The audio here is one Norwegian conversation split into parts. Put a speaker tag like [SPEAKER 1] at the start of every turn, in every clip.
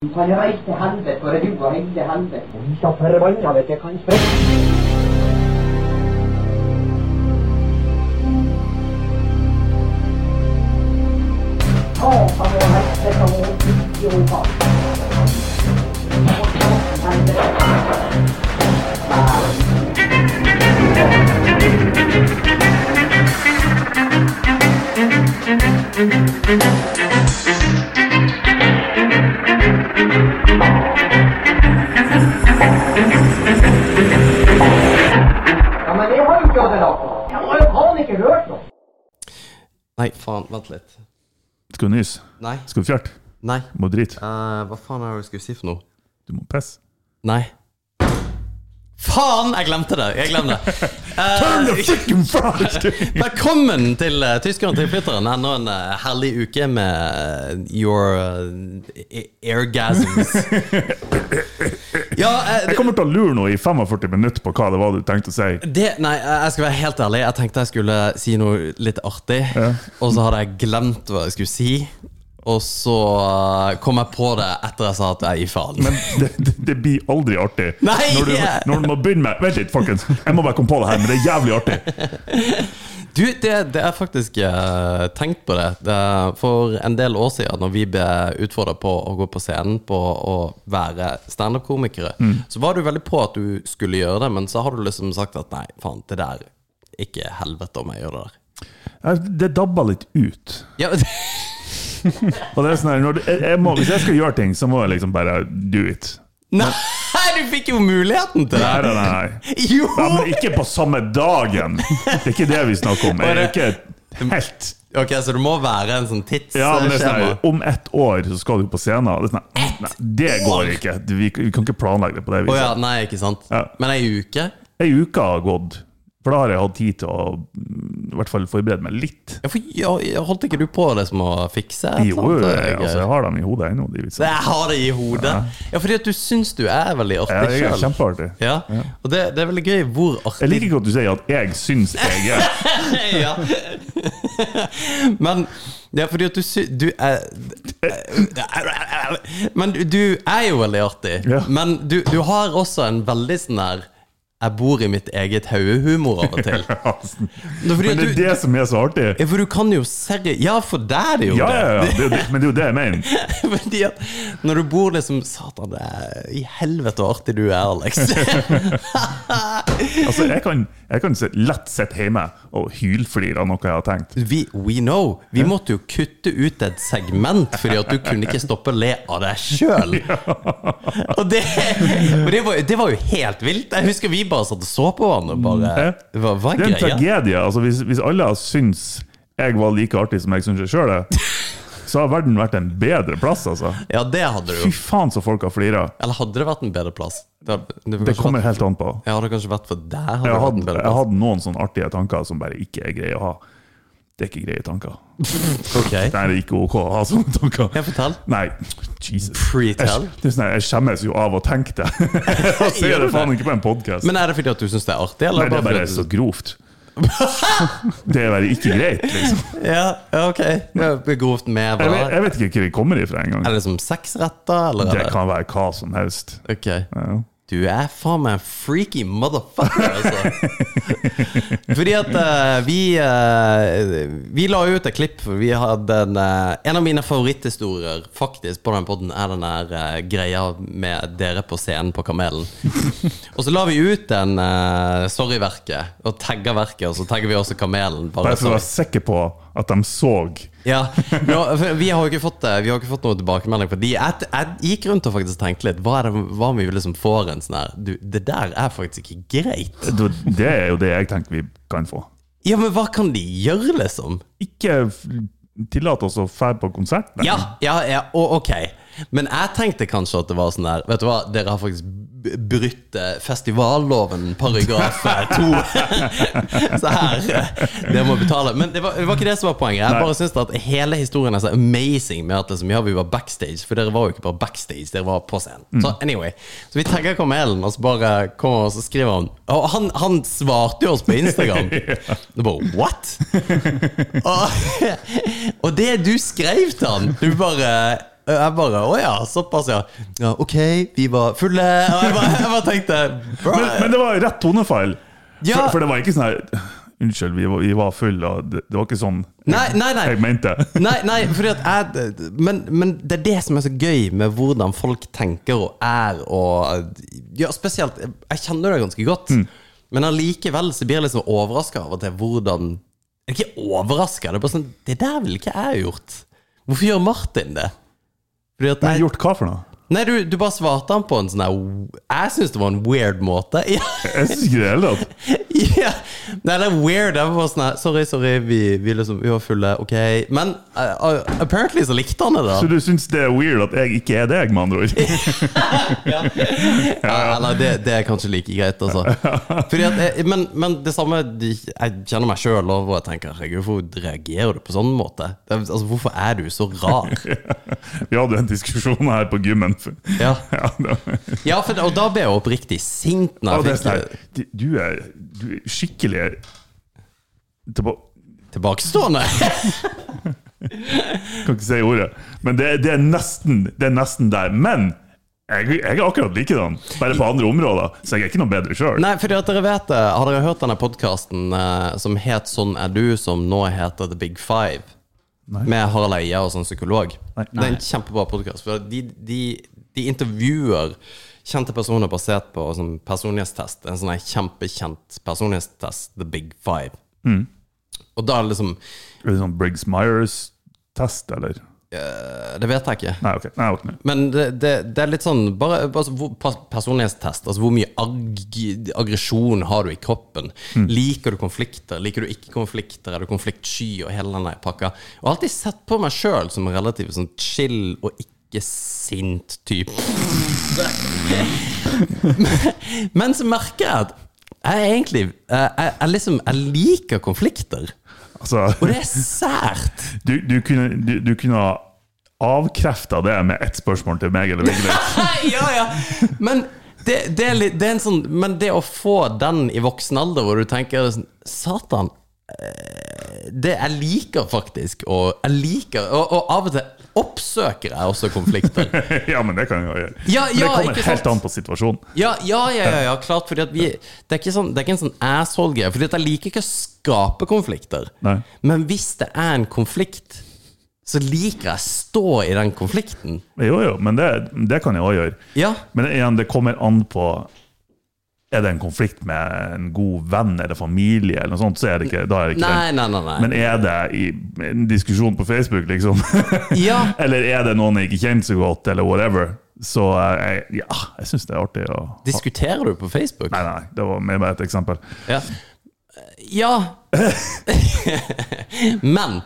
[SPEAKER 1] Du kan reise til helvete, for du har reist til helvete. Vi skal forbanna vet jeg kan sprekke. Ja, men jeg har jo ikke hatt det nok. Jeg har jo faen ikke hørt noe.
[SPEAKER 2] Nei, faen, vent litt.
[SPEAKER 3] Skal du nyse?
[SPEAKER 2] Nei.
[SPEAKER 3] Skal du fjerte?
[SPEAKER 2] Nei.
[SPEAKER 3] Du Må drite?
[SPEAKER 2] Eh, hva faen er det du skulle si for noe?
[SPEAKER 3] Du må pisse?
[SPEAKER 2] Nei.
[SPEAKER 4] Faen, jeg glemte det! Jeg glemte det.
[SPEAKER 3] Turn the fucking fart!
[SPEAKER 4] Velkommen til uh, Tyskerne til flytteren. Enda en eh, herlig uke med eh, your eh, airgasms. Ja, eh,
[SPEAKER 3] Jeg kommer til å lure noe i 45 minutter på hva det var du tenkte å si.
[SPEAKER 4] det, nei, eh, jeg skal være helt ærlig. Jeg tenkte jeg skulle si noe litt artig, og så hadde jeg glemt hva jeg skulle si. Og så eh, kom jeg på det etter jeg sa at jeg gir faen.
[SPEAKER 3] Men det, det, det blir aldri artig.
[SPEAKER 4] Nei!
[SPEAKER 3] Når, du, når du må begynne med Vent litt, folkens. Jeg må bare komme på det her, men det er jævlig artig.
[SPEAKER 4] Du, det, det er faktisk eh, tenkt på det. det. For en del år siden, når vi ble utfordra på å gå på scenen på å være standup-komikere,
[SPEAKER 3] Mm.
[SPEAKER 4] så var du veldig på at du skulle gjøre det, men så har du liksom sagt at nei, faen, det der Ikke helvete om jeg gjør det der.
[SPEAKER 3] Ja, Det dabba litt ut.
[SPEAKER 4] Ja,
[SPEAKER 3] Og det er sånn her, når du, jeg, jeg må, Hvis jeg skal gjøre ting, så må jeg liksom bare do it.
[SPEAKER 4] nei, du fikk jo muligheten til
[SPEAKER 3] Nei,
[SPEAKER 4] det!
[SPEAKER 3] nei, nei.
[SPEAKER 4] Jo!
[SPEAKER 3] Ja, men ikke på samme dagen! Det er ikke det vi snakker om. Jeg er ikke helt
[SPEAKER 4] Ok, Så du må være en sånn
[SPEAKER 3] ja, men det er sånn
[SPEAKER 4] tidsskjema?
[SPEAKER 3] her, Om ett år så skal du på scenen. Det, er sånn her, nei, det går ikke. Du, Vi, vi kan ikke planlegge det på det
[SPEAKER 4] Å ja,
[SPEAKER 3] viset.
[SPEAKER 4] nei, ikke sant?
[SPEAKER 3] Ja.
[SPEAKER 4] Men ei uke?
[SPEAKER 3] Ei uke har gått, for da har jeg hatt tid til å mm, i hvert fall forberede meg litt.
[SPEAKER 4] Ja, for, ja, holdt ikke du på det som å fikse? et
[SPEAKER 3] Jo,
[SPEAKER 4] eller annet?
[SPEAKER 3] jeg, altså, jeg har dem i hodet ennå. De
[SPEAKER 4] Så
[SPEAKER 3] vitsene.
[SPEAKER 4] jeg har det i hodet. Ja, fordi at du syns du er veldig
[SPEAKER 3] Ja,
[SPEAKER 4] artig
[SPEAKER 3] jeg er
[SPEAKER 4] sjøl.
[SPEAKER 3] kjempeartig.
[SPEAKER 4] Ja, og det, det er veldig gøy hvor artig
[SPEAKER 3] Jeg liker ikke at du sier at 'jeg syns jeg er'.
[SPEAKER 4] ja. Men det er fordi at du sy... Du er Men du er jo veldig artig.
[SPEAKER 3] Ja.
[SPEAKER 4] Men du, du har også en veldig sånn der Jeg bor i mitt eget hode-humor av og til. Det er fordi
[SPEAKER 3] altså. Men
[SPEAKER 4] at
[SPEAKER 3] det er
[SPEAKER 4] du,
[SPEAKER 3] det som er så artig.
[SPEAKER 4] ja, for du kan jo serri... Ja, for det er det jo
[SPEAKER 3] Ja,
[SPEAKER 4] det.
[SPEAKER 3] ja, ja. Det, er jo det, men det er jo det jeg mener.
[SPEAKER 4] Fordi at når du bor liksom Satan, det er i helvete hvor artig du er, Alex.
[SPEAKER 3] Altså, jeg kan, jeg kan sitte- lett sitte hjemme og hylflire av noe jeg har tenkt.
[SPEAKER 4] Vi, we know. Vi måtte jo kutte ut et segment fordi at du kunne ikke stoppe å le av deg sjøl. Og, det, og det, var, det var jo helt vilt. Jeg husker vi bare satt og så på hverandre. Bare, hva, hva
[SPEAKER 3] Det
[SPEAKER 4] er
[SPEAKER 3] er en
[SPEAKER 4] greia?
[SPEAKER 3] tragedie. Altså, hvis, hvis alle syns jeg var like artig som jeg syns jeg sjøl er, så har verden vært en bedre plass, altså.
[SPEAKER 4] Ja, det hadde du
[SPEAKER 3] Fy
[SPEAKER 4] jo.
[SPEAKER 3] faen så folk har flira.
[SPEAKER 4] Eller hadde det vært en bedre plass? Det, hadde- det, hadde
[SPEAKER 3] Det
[SPEAKER 4] kanskje
[SPEAKER 3] kommer
[SPEAKER 4] vært,
[SPEAKER 3] helt an på.
[SPEAKER 4] jeg hadde kanskje vært for deg. Hadde
[SPEAKER 3] Jeg
[SPEAKER 4] det
[SPEAKER 3] har
[SPEAKER 4] vært en
[SPEAKER 3] hatt-
[SPEAKER 4] bedre
[SPEAKER 3] jeg har
[SPEAKER 4] plass.
[SPEAKER 3] hatt noen sånne artige tanker som bare ikke er greie å ha. Det er ikke greie tanker.
[SPEAKER 4] Ok.
[SPEAKER 3] Nei, det er ikke ok å ha sånne tanker.
[SPEAKER 4] Ja, fortell.
[SPEAKER 3] Nei, Jesus.
[SPEAKER 4] Pre-tell.
[SPEAKER 3] Jeg, det er sånn, her, jeg skjemmes jo av å tenke det. Og
[SPEAKER 4] Gjør
[SPEAKER 3] sier
[SPEAKER 4] du
[SPEAKER 3] det
[SPEAKER 4] det?
[SPEAKER 3] faen ikke på en podkast.
[SPEAKER 4] Men er det fordi at du syns det er artig?
[SPEAKER 3] Nei,
[SPEAKER 4] Eller
[SPEAKER 3] det er
[SPEAKER 4] fordi
[SPEAKER 3] bare sånn.
[SPEAKER 4] at
[SPEAKER 3] så
[SPEAKER 4] du-
[SPEAKER 3] grovt. Det er bare ikke greit, liksom.
[SPEAKER 4] Ja, ja, ok. Det er Grovt med
[SPEAKER 3] Jeg vet,
[SPEAKER 4] hva?
[SPEAKER 3] jeg vet ikke hvor det kommer ifra
[SPEAKER 4] Er
[SPEAKER 3] engang.
[SPEAKER 4] det liksom sexretter, eller? er
[SPEAKER 3] Det kan være hva som helst.
[SPEAKER 4] Ok. Du er faen meg en freaky motherfucker, altså. Fordi at eh, vi eh, Vi la jo ut et klipp. for Vi hadde en, eh, en av mine favoritthistorier faktisk på den podden er den der eh, greia med dere på scenen på Kamelen. Og så la vi ut en eh, Sorry-verket, og tagga verket, og så tagger vi også Kamelen.
[SPEAKER 3] Bare
[SPEAKER 4] Bare
[SPEAKER 3] for å
[SPEAKER 4] sorry.
[SPEAKER 3] være sikker på at de så
[SPEAKER 4] Ja, nå, for vi har jo ikke fått, eh, vi har ikke fått noen tilbakemelding på de. Jeg, jeg gikk rundt og faktisk tenkte litt. Hva, er det, hva om vi liksom får en sånn her du, Det der er faktisk ikke greit.
[SPEAKER 3] Det det er jo det jeg tenker vi kan få.
[SPEAKER 4] Ja, men hva kan de gjøre, liksom?
[SPEAKER 3] Ikke f- tillate oss å fære på konsert. nei.
[SPEAKER 4] Ja, ja, ja og, ok. Men jeg tenkte kanskje at det var sånn der Vet du hva, dere har faktisk b- brutt eh, festivalloven paragraf eh, to. så her eh, Dere må betale. Men det var, det var ikke det som var poenget. Jeg bare syns at hele historien er så amazing med at liksom, ja, vi var backstage, for dere var jo ikke bare backstage, dere var på scenen. Så anyway, så vi tagger Kamelen, og så bare kommer og så skriver han Og han, han svarte jo oss på Instagram. Det bare What? Og, og det du skrev til han Du bare jeg bare Å ja, såpass, ja. ja. Ok, vi var fulle. Og jeg bare, jeg bare tenkte bro,
[SPEAKER 3] Men, men det var rett tonefall.
[SPEAKER 4] Ja.
[SPEAKER 3] For, for det var ikke sånn her Unnskyld, vi var, vi var fulle, og det, det var ikke sånn
[SPEAKER 4] Nei, nei, nei.
[SPEAKER 3] jeg mente.
[SPEAKER 4] Nei, nei, fordi at jeg men, men det er det som er så gøy med hvordan folk tenker og er og Ja, spesielt Jeg kjenner det ganske godt,
[SPEAKER 3] Mm.
[SPEAKER 4] men allikevel så blir jeg liksom overraska av og til hvordan Jeg er ikke overraska, det er bare sånn Det der ville ikke jeg gjort. Hvorfor gjør Martin det? Fordi at
[SPEAKER 3] Men
[SPEAKER 4] jeg,
[SPEAKER 3] gjort hva for noe?
[SPEAKER 4] Nei, du, du bare svarte han på en sånn her Jeg syns det var en weird måte. Ja,
[SPEAKER 3] Jeg syns ikke det i det hele tatt.
[SPEAKER 4] ja. Nei, det er weird. Jeg var bare sånn her Sorry, sorry, vi, vi, liksom, vi var fulle, ok. Men eh, eh, apparently så likte han det, da.
[SPEAKER 3] Så du syns det er weird at jeg ikke er deg, med andre ord?
[SPEAKER 4] Ja, nei, det, det er kanskje like greit, altså. Fordi at, jeg- men, men det samme Jeg kjenner meg sjøl og hvor jeg tenker Herregud, hvorfor reagerer du på sånn måte? Det er- Altså, Hvorfor er du så rar?
[SPEAKER 3] Vi hadde jo en diskusjon her på gymmen.
[SPEAKER 4] Ja,
[SPEAKER 3] Ja, det var,
[SPEAKER 4] ja for, og da ble jeg oppriktig sint.
[SPEAKER 3] Ja,
[SPEAKER 4] Når
[SPEAKER 3] det er
[SPEAKER 4] jeg
[SPEAKER 3] sånn
[SPEAKER 4] fikk eh,
[SPEAKER 3] her, du, du, er, du er skikkelig tilba-
[SPEAKER 4] det tilbakestående.
[SPEAKER 3] Kan ikke si ordet. Men det, det, er, nesten, det er nesten der. Men jeg, jeg er akkurat likedan, bare på andre områder. Så jeg er ikke noe bedre sjøl.
[SPEAKER 4] Nei, fordi at dere vet det. Har dere hørt denne podkasten eh, som het Sånn er du, som nå heter The Big Five? Med Harald Eia og sånn psykolog.
[SPEAKER 3] Nei.
[SPEAKER 4] Det er en kjempebra podkast. De, de, de intervjuer kjente personer basert på sånn personlighetstest. En sånn her kjempekjent personlighetstest, The Big Five.
[SPEAKER 3] Mm.
[SPEAKER 4] Og da er det liksom
[SPEAKER 3] Sånn Briggs Myers-test, eller?
[SPEAKER 4] eh, Det vet jeg ikke.
[SPEAKER 3] Nei, ok. Nei, ok.
[SPEAKER 4] Men det, det, det er litt sånn bare, altså, hvor, pas- Personlighetstest. Altså Hvor mye ag aggresjon har du i kroppen? Liker du konflikter? Liker du ikke konflikter? Er du konfliktsky? Og hele den der pakka. Og har alltid sett på meg sjøl som en relativt sånn chill og ikke sint type. Men- Men så merker jeg at jeg er egentlig eh, jeg, jeg, liksom, jeg liker konflikter. Og
[SPEAKER 3] Altså,
[SPEAKER 4] det er sært.
[SPEAKER 3] du, du kunne, du, du kunne ha avkrefta det med ett spørsmål til meg, eller Vigdis.
[SPEAKER 4] ja, ja. Men det, det, er litt, det er en sånn Men det å få den i voksen alder, hvor du tenker sånn, Satan. eh, Det jeg liker faktisk og Jeg liker Og, og av og til oppsøker jeg også konflikter.
[SPEAKER 3] ja, men det kan jeg jo gjøre.
[SPEAKER 4] Ja,
[SPEAKER 3] Men det
[SPEAKER 4] ja,
[SPEAKER 3] kommer
[SPEAKER 4] ikke sant?
[SPEAKER 3] helt an på situasjonen.
[SPEAKER 4] Ja, ja, ja, ja, ja klart. Fordi at vi, det, er ikke sånn, det er ikke en sånn asshole-greie. Fordi at jeg liker ikke å skape konflikter.
[SPEAKER 3] Nei.
[SPEAKER 4] Men hvis det er en konflikt, så liker jeg å stå i den konflikten.
[SPEAKER 3] Jo, jo, men det, det kan jeg òg gjøre.
[SPEAKER 4] Ja.
[SPEAKER 3] Men igjen, det kommer an på Er det en konflikt med en god venn eller familie, eller noe sånt, så er det ikke, da er det ikke
[SPEAKER 4] Nei,
[SPEAKER 3] den.
[SPEAKER 4] nei, nei. nei.
[SPEAKER 3] Men er det i en diskusjon på Facebook, liksom?
[SPEAKER 4] ja.
[SPEAKER 3] eller er det noen jeg ikke kjenner så godt, eller whatever? Så eh, jeg, ja, jeg syns det er artig å
[SPEAKER 4] Diskuterer du på Facebook?
[SPEAKER 3] Nei, nei, det var mer bare et eksempel.
[SPEAKER 4] Ja. ja. Men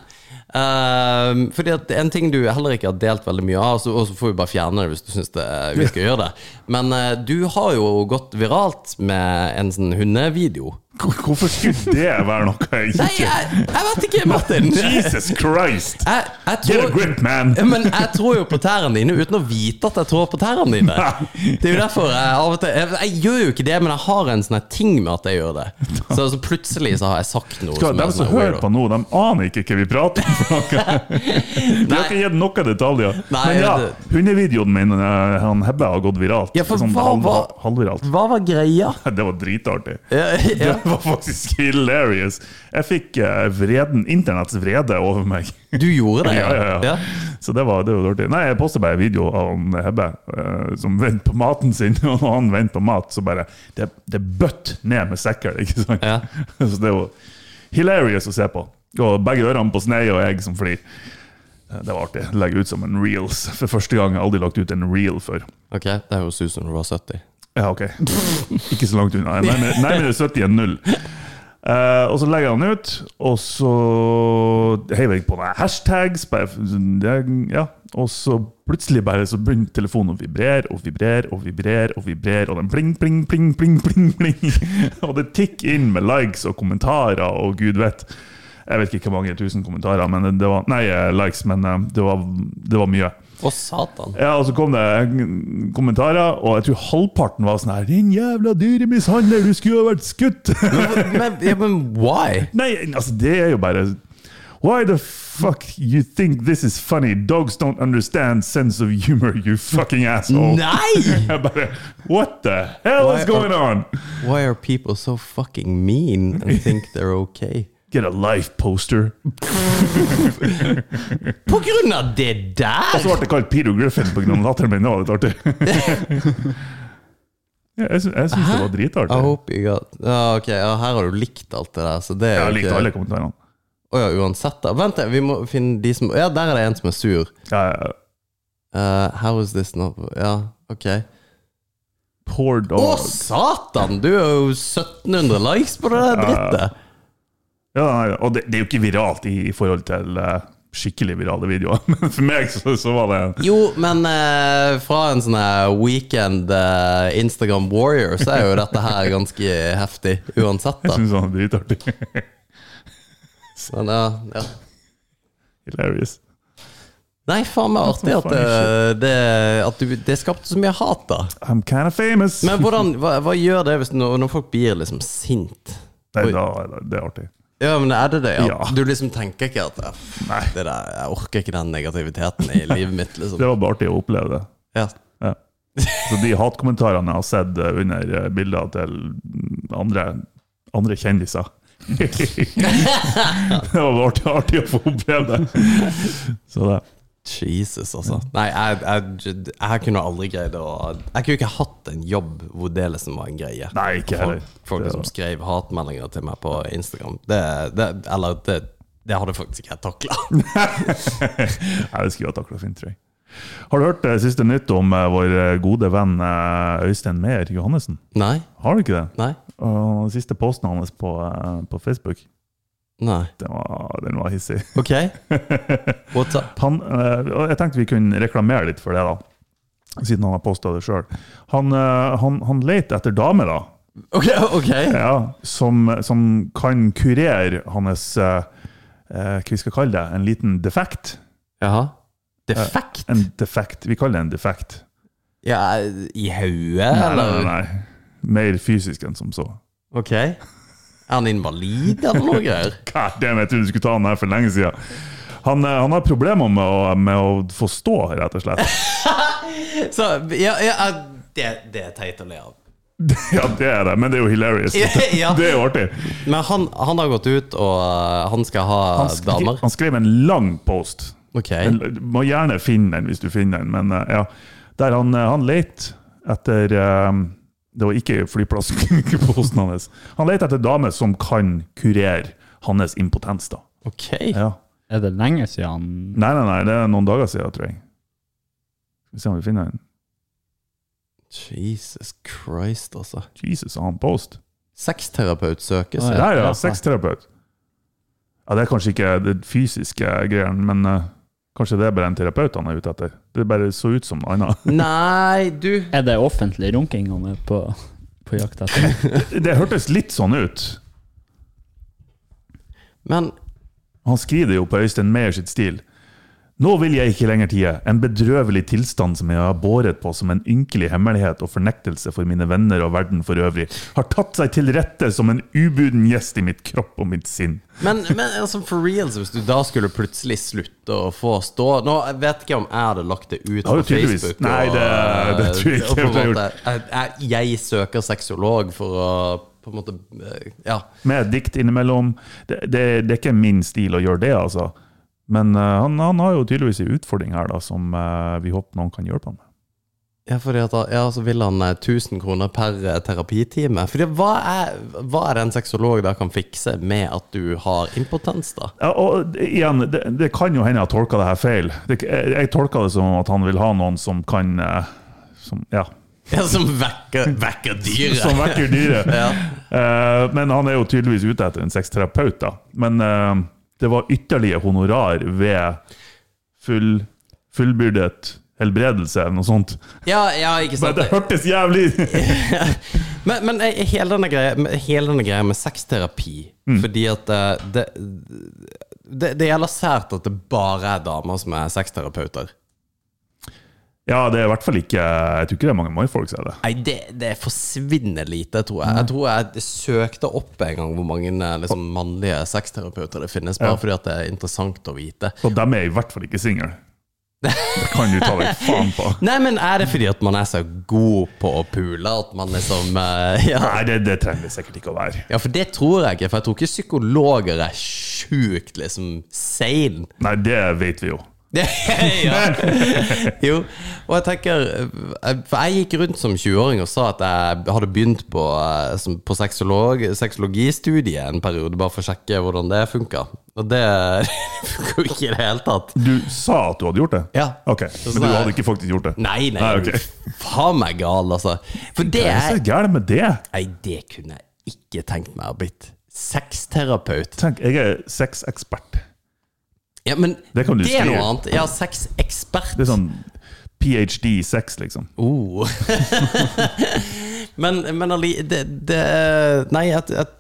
[SPEAKER 4] ehm, Fordi at en ting du heller ikke har delt veldig mye av, så- og så får vi bare fjerne det hvis du syns vi skal gjøre det Men eh, du har jo gått viralt med en sånn hundevideo.
[SPEAKER 3] Hvorfor skulle det være noe jeg
[SPEAKER 4] Nei,
[SPEAKER 3] ikke
[SPEAKER 4] jeg, jeg vet ikke, Martin! Jeg,
[SPEAKER 3] Jesus Christ!
[SPEAKER 4] jeg
[SPEAKER 3] Get a
[SPEAKER 4] tror
[SPEAKER 3] grip, man!
[SPEAKER 4] men jeg tror jo på tærne dine uten å vite at jeg tror på tærne dine. Det er jo derfor jeg av og til Jeg, jeg gjør jo ikke det, men jeg har en sånn her ting med at jeg gjør det. Så, så plutselig så har jeg sagt noe
[SPEAKER 3] Skal,
[SPEAKER 4] er
[SPEAKER 3] de som
[SPEAKER 4] sånn her
[SPEAKER 3] hører
[SPEAKER 4] weirdo.
[SPEAKER 3] på nå, de aner ikke hva vi prater om. for noe. Vi har ikke gitt noen detaljer.
[SPEAKER 4] Nei,
[SPEAKER 3] Men ja,
[SPEAKER 4] det-
[SPEAKER 3] hundevideoen min eh, han Hebbe har gått viralt.
[SPEAKER 4] Ja, for
[SPEAKER 3] sånn
[SPEAKER 4] hva var-
[SPEAKER 3] halvviralt.
[SPEAKER 4] Hva var greia?
[SPEAKER 3] Det var dritartig.
[SPEAKER 4] Ja, ja.
[SPEAKER 3] Det var faktisk hilarious. Jeg fikk eh, vreden, internetts vrede over meg.
[SPEAKER 4] Du gjorde det?
[SPEAKER 3] Ja, ja, ja. Så det var, det var artig. Nei, jeg postet bare en video av han Hebbe eh, som venter på maten sin. Og når han venter på mat, så bare Det, det bøtt ned med sekker, ikke sant?
[SPEAKER 4] Ja.
[SPEAKER 3] Så det var hilarious å se på. Og begge ørene på snei og jeg som flir. Det var artig. Legge ut som en reels. For første gang jeg har aldri lagt ut en reel før.
[SPEAKER 4] Ok, det høres ut som du var 70.
[SPEAKER 3] Ja, ok. Ikke så langt unna. Nærmere, nærmere 70 enn null. Eh, og så legger jeg den ut, og så heiver jeg på meg hashtags. bare f- sånn, det- Ja. Og så plutselig bare så begynner telefonen å vibrere og vibrere og vibrere, og vibrere, og den pling, pling, pling, pling, pling, pling. Og det tikker inn med likes og kommentarer og gud vet. Jeg vet ikke hvor mange tusen kommentarer, men det- det var, nei, eh, likes, men eh, det var, det var mye.
[SPEAKER 4] Å, satan.
[SPEAKER 3] Ja, og så kom det en- kommentarer, og jeg tror halvparten var sånn her Din jævla dyremishandler, du skulle jo ha vært skutt!
[SPEAKER 4] Men, ja, men why?
[SPEAKER 3] Nei, altså, det er jo bare Why the fuck you think this is funny? Dogs don't understand sense of humor, you fucking asshole.
[SPEAKER 4] Nei!
[SPEAKER 3] Jeg bare What the hell
[SPEAKER 4] Why-
[SPEAKER 3] is going on?
[SPEAKER 4] Why are people so fucking mean and think they're okay?
[SPEAKER 3] Get a life poster.
[SPEAKER 4] På grunn av det
[SPEAKER 3] Og så
[SPEAKER 4] der?
[SPEAKER 3] ble det kalt Peter Griffin på grunn av latteren min. Det var litt artig. Ja, Jeg, sy jeg syns det var
[SPEAKER 4] I
[SPEAKER 3] dritartig.
[SPEAKER 4] hope you got Ja, ok, ja, her har du likt alt det der, så det er
[SPEAKER 3] Jeg
[SPEAKER 4] jo
[SPEAKER 3] likte
[SPEAKER 4] ikke-
[SPEAKER 3] alle kommentarene.
[SPEAKER 4] Å ja, uansett, da. Vent, vi må finne de som Ja, der er det en som er sur.
[SPEAKER 3] Ja, ja, ja.
[SPEAKER 4] Eh, how is this not Ja, ok.
[SPEAKER 3] Poor dog.
[SPEAKER 4] Å, satan! Du er jo 1700 likes på det der drittet!
[SPEAKER 3] Ja, nei, og det, det er jo ikke viralt i, i forhold til eh, skikkelig virale videoer, men for meg så, så var det
[SPEAKER 4] Jo, men eh, fra en sånn her weekend eh, Instagram warrior, så er jo dette her ganske heftig uansett,
[SPEAKER 3] Jeg
[SPEAKER 4] da.
[SPEAKER 3] syns han er dritartig.
[SPEAKER 4] Men ja, ja.
[SPEAKER 3] Hilarious.
[SPEAKER 4] Nei, faen meg artig at, eh, det, at du, det skapte så mye hat, da.
[SPEAKER 3] I'm kind of famous.
[SPEAKER 4] Men hvordan, hva, hva gjør det hvis når, når folk blir liksom sint?
[SPEAKER 3] Nei, da, da, det er artig.
[SPEAKER 4] Ja, men er det det? Ja.
[SPEAKER 3] Ja.
[SPEAKER 4] Du liksom tenker ikke at "Pff,
[SPEAKER 3] Nei.
[SPEAKER 4] det der, Jeg orker ikke den negativiteten i livet mitt, liksom.
[SPEAKER 3] Det var bare artig å oppleve det.
[SPEAKER 4] Ja.
[SPEAKER 3] Ja. Så de hatkommentarene jeg har sett eh, under eh, bilder til mm, andre, andre kjendiser Det var bare artig, artig å få oppleve det. Så det.
[SPEAKER 4] Jesus, altså. Nei, jeg, jeg, jeg kunne aldri greid å Jeg kunne ikke hatt en jobb hvor det liksom var en greie.
[SPEAKER 3] Nei, ikke heller.
[SPEAKER 4] Folk, folk
[SPEAKER 3] Det
[SPEAKER 4] som
[SPEAKER 3] var-
[SPEAKER 4] skrev hatmeldinger til meg på Instagram. Det, det, eller det, det hadde faktisk ikke jeg takla.
[SPEAKER 3] Nei, det skulle jeg ha takla fint, tror jeg. Har du hørt eh, siste nytt om eh, vår eh, gode venn eh, Øystein Meyer Johannessen?
[SPEAKER 4] Nei,
[SPEAKER 3] Har du ikke det?
[SPEAKER 4] nei,
[SPEAKER 3] Og den siste posten hans på, eh, på Facebook,
[SPEAKER 4] nei.
[SPEAKER 3] den var, den var hissig.
[SPEAKER 4] Ok, what's up?
[SPEAKER 3] Han, eh, og jeg tenkte vi kunne reklamere litt for det, da. Siden han har posta det sjøl. Han, eh, han, han leter etter damer, da.
[SPEAKER 4] Ok, ok.
[SPEAKER 3] Ja, som, som kan kurere hans eh, eh, Hva vi skal kalle det? En liten defekt?
[SPEAKER 4] Jaha. Defekt?
[SPEAKER 3] En defekt. Vi kaller det en defekt.
[SPEAKER 4] Ja, i hodet,
[SPEAKER 3] Nei, nei,
[SPEAKER 4] eller?
[SPEAKER 3] nei, nei. Mer fysisk enn som så.
[SPEAKER 4] Ok. Er han invalid eller noe greier?
[SPEAKER 3] God damn, jeg trodde du skulle ta han her for lenge siden. Han, eh, han har problemer med å, med å få stå, rett og slett.
[SPEAKER 4] Så, ja, ja, ja, det, det er teit å le av.
[SPEAKER 3] Ja, det er det, men det er jo hilarious.
[SPEAKER 4] Ja.
[SPEAKER 3] Det er jo artig.
[SPEAKER 4] Men han, han har gått ut, og uh, han skal ha
[SPEAKER 3] Han, sk
[SPEAKER 4] damer.
[SPEAKER 3] han skrev en lang post.
[SPEAKER 4] Ok.
[SPEAKER 3] En- Du må gjerne finne den hvis du finner den, men eh, ja. Der han, eh, han lette etter eh, Det var ikke flyplassposten hans. Han lette etter damer som kan kurere hans impotens, da.
[SPEAKER 4] Ok.
[SPEAKER 3] Ja.
[SPEAKER 5] Er det lenge siden han
[SPEAKER 3] Nei, nei, nei, det er noen dager siden, tror jeg. Skal vi se om vi finner den.
[SPEAKER 4] Jesus Christ, altså.
[SPEAKER 3] Jesus, har han post?
[SPEAKER 4] Sexterapeut søkes.
[SPEAKER 5] Å,
[SPEAKER 4] ja.
[SPEAKER 3] Der, ja.
[SPEAKER 5] ja.
[SPEAKER 3] Sexterapeut. Ja, det er kanskje ikke det fysiske greien, men eh, kanskje det er bare en terapeut han er ute etter. Det bare så ut som noe annet.
[SPEAKER 4] Nei, du
[SPEAKER 5] Er det offentlig runking han er på, på jakt etter?
[SPEAKER 3] Det hørtes litt sånn ut.
[SPEAKER 4] Men
[SPEAKER 3] Han skriver det jo på Øystein Meyer sitt stil. Nå vil jeg ikke lenger tie. En bedrøvelig tilstand som jeg har båret på som en ynkelig hemmelighet og fornektelse for mine venner og verden for øvrig, har tatt seg til rette som en ubuden gjest i mitt kropp og mitt sinn.
[SPEAKER 4] Men, men altså, for reals, hvis du da skulle plutselig slutte å få stå Nå jeg vet ikke om jeg hadde lagt det ut
[SPEAKER 3] har
[SPEAKER 4] på
[SPEAKER 3] jo tydeligvis-
[SPEAKER 4] Facebook.
[SPEAKER 3] Nei, det- det tror jeg ikke
[SPEAKER 4] og på en
[SPEAKER 3] jeg ville
[SPEAKER 4] måte, jeg, jeg, jeg søker sexolog for å på en måte eh, Ja.
[SPEAKER 3] Med et dikt innimellom. Det, det, det er ikke min stil å gjøre det, altså. Men eh, han, han har jo tydeligvis en utfordring her da, som eh, vi håper noen kan hjelpe han med.
[SPEAKER 4] Ja, fordi at han- ja, så vil han eh, 1000 kroner per eh, terapitime. Fordi hva er, hva er det en sexolog da kan fikse med at du har impotens, da?
[SPEAKER 3] Ja, og det- igjen, det, det kan jo hende jeg tolker det her feil. Det, jeg, jeg tolker det som at han vil ha noen som kan eh, som, ja,
[SPEAKER 4] Ja, Som vekker, vekker dyret.
[SPEAKER 3] som vekker dyret. Eh, men han er jo tydeligvis ute etter en sexterapeut, da. Men eh, det var ytterligere honorar ved full, fullbyrdet helbredelse, eller noe sånt.
[SPEAKER 4] Ja, ja, ikke
[SPEAKER 3] Men
[SPEAKER 4] sant?
[SPEAKER 3] det hørtes jævlig
[SPEAKER 4] Men, men eh, hele, denne greia, men hele denne greia med sexterapi Fordi at eh, det, det, det gjelder sært at det bare er damer som er sexterapeuter.
[SPEAKER 3] Ja, det er i hvert fall ikke Jeg tror ikke det er mange mannfolk som er det.
[SPEAKER 4] Nei, det, det er forsvinnende lite, tror jeg. Jeg tror jeg søkte opp en gang hvor mange eh, liksom, mannlige sexterapeuter det finnes, bare fordi at det er interessant å vite.
[SPEAKER 3] Så dem er i hvert fall ikke single. Det kan du ta deg faen på.
[SPEAKER 4] Nei, men er det fordi at man er så god på å pule at man liksom eh, ja.
[SPEAKER 3] Nei, det, det trenger det sikkert ikke å være.
[SPEAKER 4] ja, for det tror jeg ikke, for jeg tror ikke psykologer er sjukt liksom sane.
[SPEAKER 3] Nei, det vet vi jo.
[SPEAKER 4] Det, ja. Jo, og jeg tenker eh, For jeg gikk rundt som 20-åring og sa at jeg hadde begynt på, eh, som- på sexolog, sexologistudiet en periode, bare for å sjekke hvordan det funka. Og det funka jo ikke i det hele tatt.
[SPEAKER 3] Du sa at du hadde gjort det?
[SPEAKER 4] Ja.
[SPEAKER 3] Ok, Men du hadde ikke faktisk gjort det?
[SPEAKER 4] Nei, nei,
[SPEAKER 3] Nei, ok.
[SPEAKER 4] du faen meg gal, altså. For det
[SPEAKER 3] Hva er
[SPEAKER 4] er
[SPEAKER 3] så gærent med det?
[SPEAKER 4] Nei, det kunne jeg ikke tenkt meg å blitt. Sexterapeut.
[SPEAKER 3] Tenk, jeg er sexekspert.
[SPEAKER 4] Ja, men
[SPEAKER 3] Det kan du
[SPEAKER 4] er
[SPEAKER 3] skrive.
[SPEAKER 4] noe annet. Ja, sexekspert.
[SPEAKER 3] Det er sånn ph.d. i sex, liksom.
[SPEAKER 4] Oh. men, men alli- det, det Nei, at, at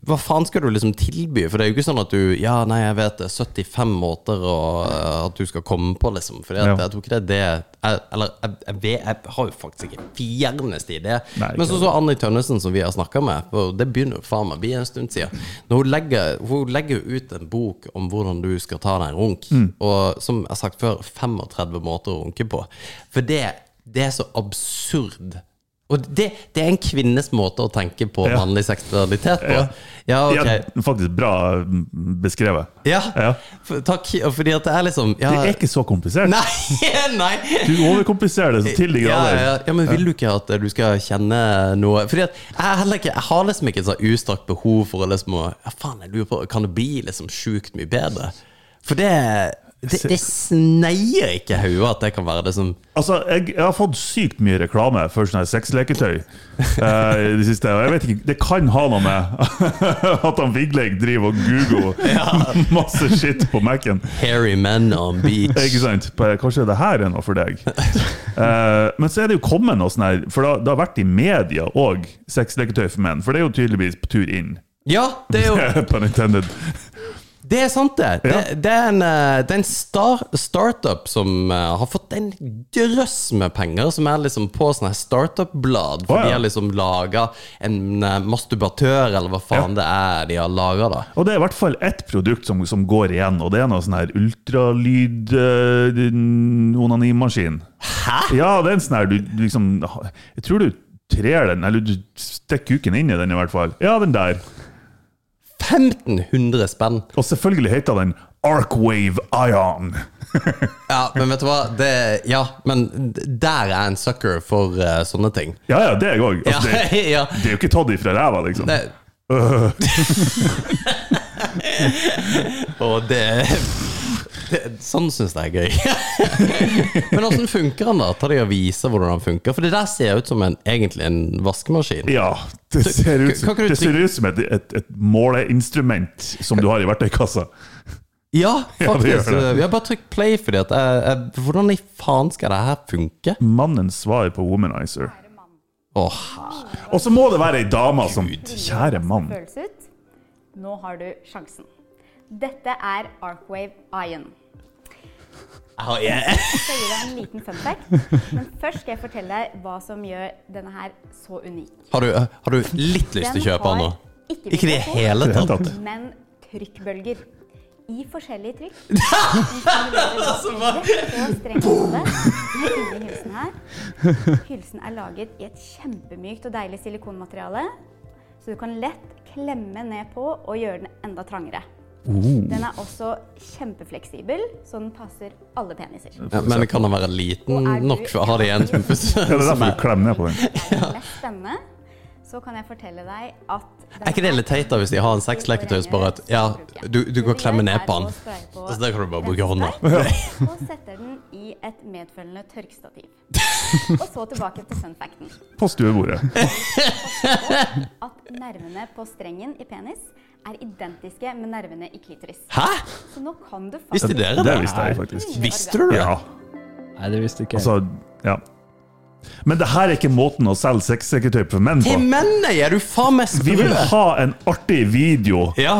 [SPEAKER 4] Hva faen skal du liksom tilby? For det er jo ikke sånn at du Ja, nei, jeg vet det er 75 måter å, eh, at du skal komme på, liksom. For
[SPEAKER 3] Ja.
[SPEAKER 4] jeg tror ikke det er det jeg, Eller jeg, jeg, vet- jeg har jo faktisk ikke fjerneste idé.
[SPEAKER 3] Nei, ikke
[SPEAKER 4] Men så så Anni Tønnesen, som vi har snakka med, for det begynner jo faen meg å bli en stund siden Når hun legger, hun legger jo ut en bok om hvordan du skal ta deg en runk,
[SPEAKER 3] Mm.
[SPEAKER 4] og som jeg har sagt før, 35 måter å runke på. For det, det er så absurd. Og det, det er en kvinnes måte å tenke på
[SPEAKER 3] Ja.
[SPEAKER 4] mannlig seksualitet på.
[SPEAKER 3] Ja.
[SPEAKER 4] Ja, ok.
[SPEAKER 3] Ja, faktisk bra mm, beskrevet.
[SPEAKER 4] Ja.
[SPEAKER 3] Ja.
[SPEAKER 4] For, takk. Fordi at det er liksom ja.
[SPEAKER 3] Det er ikke så komplisert.
[SPEAKER 4] Nei! nei.
[SPEAKER 3] Du overkompliserer det så til de
[SPEAKER 4] Ja,
[SPEAKER 3] grader.
[SPEAKER 4] ja, ja, men vil du ikke at eh, du skal kjenne noe Fordi at jeg, er heller ikke, jeg har liksom ikke et sånn ustrakt behov for å liksom å Ja, faen, jeg lurer på Kan det bli liksom sjukt mye bedre? For det Det, det sneier ikke i hodet at det kan være det som
[SPEAKER 3] Altså, jeg, jeg har fått sykt mye reklame for sånne her sexleketøy eh, i det siste. Og jeg vet ikke, det kan ha noe med at han Vigleik driver og googler masse shit på Mac-en.
[SPEAKER 4] Hairy men on beach.
[SPEAKER 3] Ikke sant? På- Kanskje det her er noe for deg? Eh, men så er det jo kommet noe sånn her, for det, det har vært i media òg, sexleketøy for menn. For det er jo tydeligvis på tur inn.
[SPEAKER 4] Ja, det er jo
[SPEAKER 3] Pun intended.
[SPEAKER 4] Det er sant, det. Det,
[SPEAKER 3] Ja.
[SPEAKER 4] det er en, eh, det er en star, startup som eh, har fått en drøss med penger, som er liksom på sånne her startup-blad. For
[SPEAKER 3] Å, ja.
[SPEAKER 4] de har liksom laga en eh, masturbatør, eller hva faen det er de har laga, da.
[SPEAKER 3] Og det er i hvert fall ett produkt som, som går igjen, og det er noe sånn her ultralyd-onanimaskin.
[SPEAKER 4] Hæ?
[SPEAKER 3] Ja, det er en sånn her du du liksom Jeg tror du trer den, eller du stikker kuken inn i den i hvert fall. Ja, den der.
[SPEAKER 4] 1500 spenn!
[SPEAKER 3] Og selvfølgelig heter den Arcwave Ion.
[SPEAKER 4] Ja, men vet du hva? Det, ja, men d- der er en sucker for eh, sånne ting.
[SPEAKER 3] Ja, ja, det er jeg òg.
[SPEAKER 4] Ja,
[SPEAKER 3] Altså, det,
[SPEAKER 4] ja.
[SPEAKER 3] det er jo ikke tatt ifra ræva, liksom.
[SPEAKER 4] Det, Og det, det Sånn syns jeg er gøy. Men åssen funker han, da? Ta deg og vise hvordan han funker. For det der ser ut som en, egentlig en vaskemaskin.
[SPEAKER 3] Ja, det ser ut som,
[SPEAKER 4] kan ikke du
[SPEAKER 3] det ser
[SPEAKER 4] trykke-
[SPEAKER 3] ut som et, et, et måleinstrument som du har i verktøykassa.
[SPEAKER 4] Ja,
[SPEAKER 3] Ja, det gjør
[SPEAKER 4] faktisk.
[SPEAKER 3] det.
[SPEAKER 4] Vi har bare trykt play fordi at jeg, jeg, Hvordan i faen skal det her funke?
[SPEAKER 3] Mannens svar på womanizer.
[SPEAKER 4] Åh,
[SPEAKER 3] Og så må det være ei dame som Kjære mann.
[SPEAKER 6] føles ut. Nå har du sjansen. Dette er Arcwave Ion.
[SPEAKER 4] oh, yeah.
[SPEAKER 6] Jeg skal gi deg en liten fun fact, men først skal jeg fortelle deg hva som gjør denne her så unik.
[SPEAKER 4] har, du, eh, har du litt lyst til å kjøpe han nå?
[SPEAKER 6] ikke
[SPEAKER 4] Ikke i det
[SPEAKER 6] vibrasjon,
[SPEAKER 4] hele tatt.
[SPEAKER 3] tatt.
[SPEAKER 6] men trykkbølger. I forskjellige trykk. Altså, Den stimulerer da feltet og strengt hode. Med inni hylsen her. Hylsen er laget i et kjempemykt og deilig silikonmateriale, så du kan lett klemme ned på og gjøre den enda trangere.
[SPEAKER 4] Oh.
[SPEAKER 6] Den er også kjempefleksibel, så den passer alle peniser.
[SPEAKER 4] Ja, men kan den være liten nok for å ha det igjen som
[SPEAKER 3] Ja, det er derfor
[SPEAKER 4] pusse?
[SPEAKER 3] du klemmer ned på den.
[SPEAKER 6] Er det mest spennende, så kan jeg fortelle deg at
[SPEAKER 4] Er ikke det litt teit da hvis de har en sexleketøy så bare at ja, du, du kan klemme ned på den? Så der kan du bare bruke hånda.
[SPEAKER 6] Og setter den i et medfølgende tørkestativ. Og så tilbake til fun facten.
[SPEAKER 3] På stuebordet.
[SPEAKER 6] At nervene på strengen i penis er identiske med nervene i klitoris.
[SPEAKER 4] Hæ?
[SPEAKER 6] Så nå kan du
[SPEAKER 4] Visste
[SPEAKER 6] faktisk
[SPEAKER 4] dere det?
[SPEAKER 3] Det visste jeg faktisk.
[SPEAKER 4] Visste du det?
[SPEAKER 3] Ja,
[SPEAKER 5] Nei, det visste ikke jeg.
[SPEAKER 3] altså, ja. Men det her er ikke måten å selge sexsekretøy for menn på.
[SPEAKER 4] Til mennene er du faen meg
[SPEAKER 3] Vi vil
[SPEAKER 4] sprø!
[SPEAKER 3] ha en artig video
[SPEAKER 4] Ja.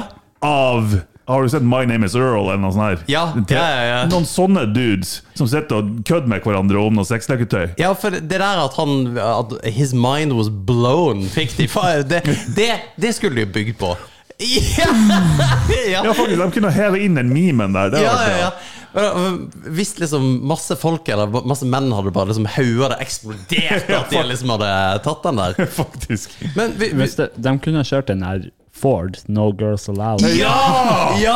[SPEAKER 3] av har du sett My Name Is Earl eller noe sånt? her?
[SPEAKER 4] Ja, ja, ja, ja.
[SPEAKER 3] Noen sånne dudes som sitter og kødder med hverandre om noe sexleketøy.
[SPEAKER 4] ja, for det der at han At his mind was blown, fikk de faen Det, det, det skulle de jo bygd på. Ja! ja.
[SPEAKER 3] Ja, faktisk, De kunne heve inn den memen der. Det
[SPEAKER 4] Ja,
[SPEAKER 3] var
[SPEAKER 4] ja,
[SPEAKER 3] artig,
[SPEAKER 4] ja. Men, øh, Hvis liksom masse folk eller ba- masse menn hadde bare liksom hodet hadde eksplodert at de liksom hadde tatt den der.
[SPEAKER 3] Faktisk.
[SPEAKER 4] Men vi, vi
[SPEAKER 5] Hvis det, de kunne kjørt den her Ford, No Girls Allowed.
[SPEAKER 4] ja! ja!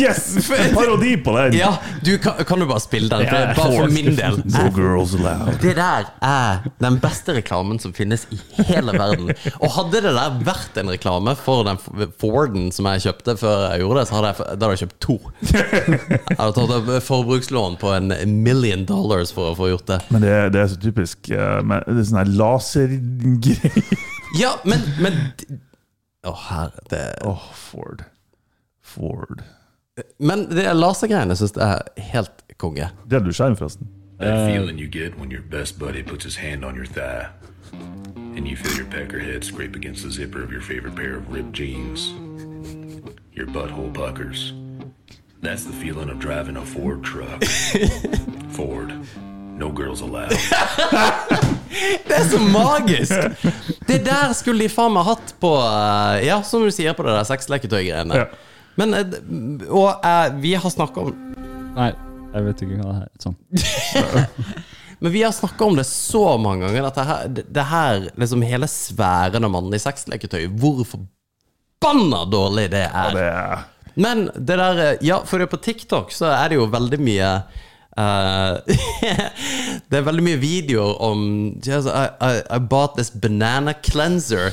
[SPEAKER 3] Yes! En parodi på den!
[SPEAKER 4] Ja, du, kan, kan du bare spille den? For,
[SPEAKER 5] Ja,
[SPEAKER 4] bare for min del.
[SPEAKER 3] No girls allowed.
[SPEAKER 4] Det der er den beste reklamen som finnes i hele verden. Og hadde det der vært en reklame for den F- Forden som jeg kjøpte før jeg gjorde det, så hadde jeg, f- da hadde jeg kjøpt to. Jeg hadde tatt opp forbrukslån på en million dollars for å få gjort det.
[SPEAKER 3] Men det, er- det er så typisk eh, med, Det er sånn her lasergreier.
[SPEAKER 4] Ja, men, men d- Å, herre det,
[SPEAKER 3] Åh, Ford. Ford.
[SPEAKER 4] Men det lasergreiene syns jeg er helt konge.
[SPEAKER 3] Det hadde du skjerm, forresten.
[SPEAKER 7] That feeling you get when your best buddy puts his hand on your thigh and you feel your pecker head scrape against the zipper of your favorite pair of ripped jeans. Your butthole puckers. That's the feeling of driving a Ford truck. Ford. No girls allowed.
[SPEAKER 4] Det er så magisk! Det der skulle de faen meg hatt på eh, Ja, som du sier, på det der sexleketøy-greiene.
[SPEAKER 3] Ja.
[SPEAKER 4] Men eh, d- Og eh, vi har snakka om
[SPEAKER 5] Nei, jeg vet ikke hva det her er. Sånn.
[SPEAKER 4] Men vi har snakka om det så mange ganger, at det her, det- det her liksom hele sfæren av mannlig sexleketøy, hvor forbanna dårlig det er.
[SPEAKER 3] Det er
[SPEAKER 4] Men det der eh, Ja, for det er på TikTok så er det jo veldig mye eh, det er veldig mye videoer om Jesus, I, I, I bought this banana cleanser.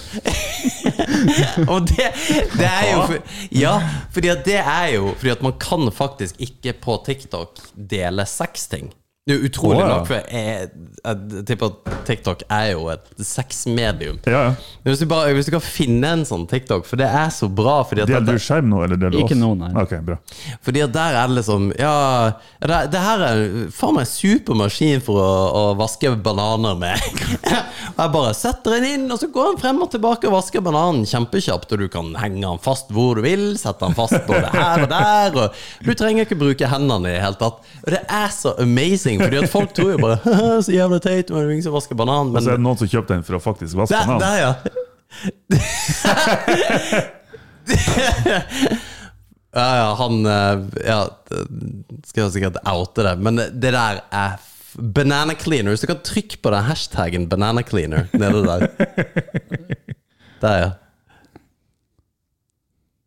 [SPEAKER 4] Og det, det er jo for, Ja, fordi at det er jo Fordi at man kan faktisk ikke på TikTok dele sexting. Det er utrolig
[SPEAKER 3] Å, ja.
[SPEAKER 4] nok, for jeg, jeg tipper at TikTok er jo et sexmedium.
[SPEAKER 3] Ja, ja.
[SPEAKER 4] Hvis du, bare, hvis du kan finne en sånn TikTok, for det er så bra fordi at
[SPEAKER 3] Deler
[SPEAKER 4] dette-
[SPEAKER 3] du skjerm nå, eller deler du
[SPEAKER 5] Ikke
[SPEAKER 3] oss?
[SPEAKER 5] nå, nei.
[SPEAKER 3] Ok, bra.
[SPEAKER 4] fordi at der er det liksom Ja, det, det her er faen meg supermaskin for å, å vaske bananer med. og jeg bare setter den inn, og så går den frem og tilbake og vasker bananen kjempekjapt. Og du kan henge den fast hvor du vil, sette den fast både her og der. Og du trenger ikke bruke hendene i det hele tatt. Og det er så amazing, fordi at folk tror jo bare «Haha, Så jævla teit, men det er ingen som vasker banan.
[SPEAKER 3] Så er
[SPEAKER 4] Men
[SPEAKER 3] det noen som kjøpte den for å faktisk vaske
[SPEAKER 4] der,
[SPEAKER 3] den av.
[SPEAKER 4] der, ja. ja, ja, han eh, Ja, det- skal jeg sikkert oute det, men det der er f- Banana cleaner. Hvis du kan trykke på den hashtagen banana cleaner nede der. Der, ja.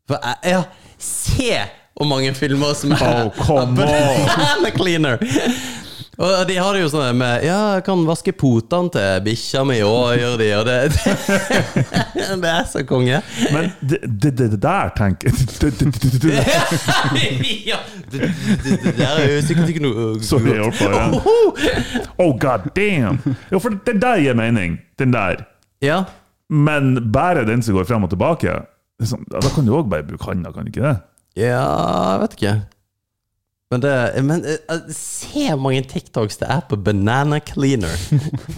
[SPEAKER 4] For, jeg- ja. Se hvor mange filmer som er
[SPEAKER 3] Oh, come on!
[SPEAKER 4] Banana cleaner! Og de har det jo sånn med Ja, jeg kan vaske potene til bikkja mi òg, gjør de, og det Det er så konge.
[SPEAKER 3] Men det, det, det, det der, tenk det, det, det, det, det.
[SPEAKER 4] ja, det, det, det der er jo sikkert ikke noe
[SPEAKER 3] Sorry, jeg holdt på igjen. Oh, god damn! Jo, for det der gir mening. Den der.
[SPEAKER 4] Ja.
[SPEAKER 3] Men bare den som går frem og tilbake, det er sånn, ja, da kan du òg bare bruke handa, kan du ikke det?
[SPEAKER 4] ja, jeg vet ikke. Men, det, men eh, se hvor mange TikToks det er på banana cleaner.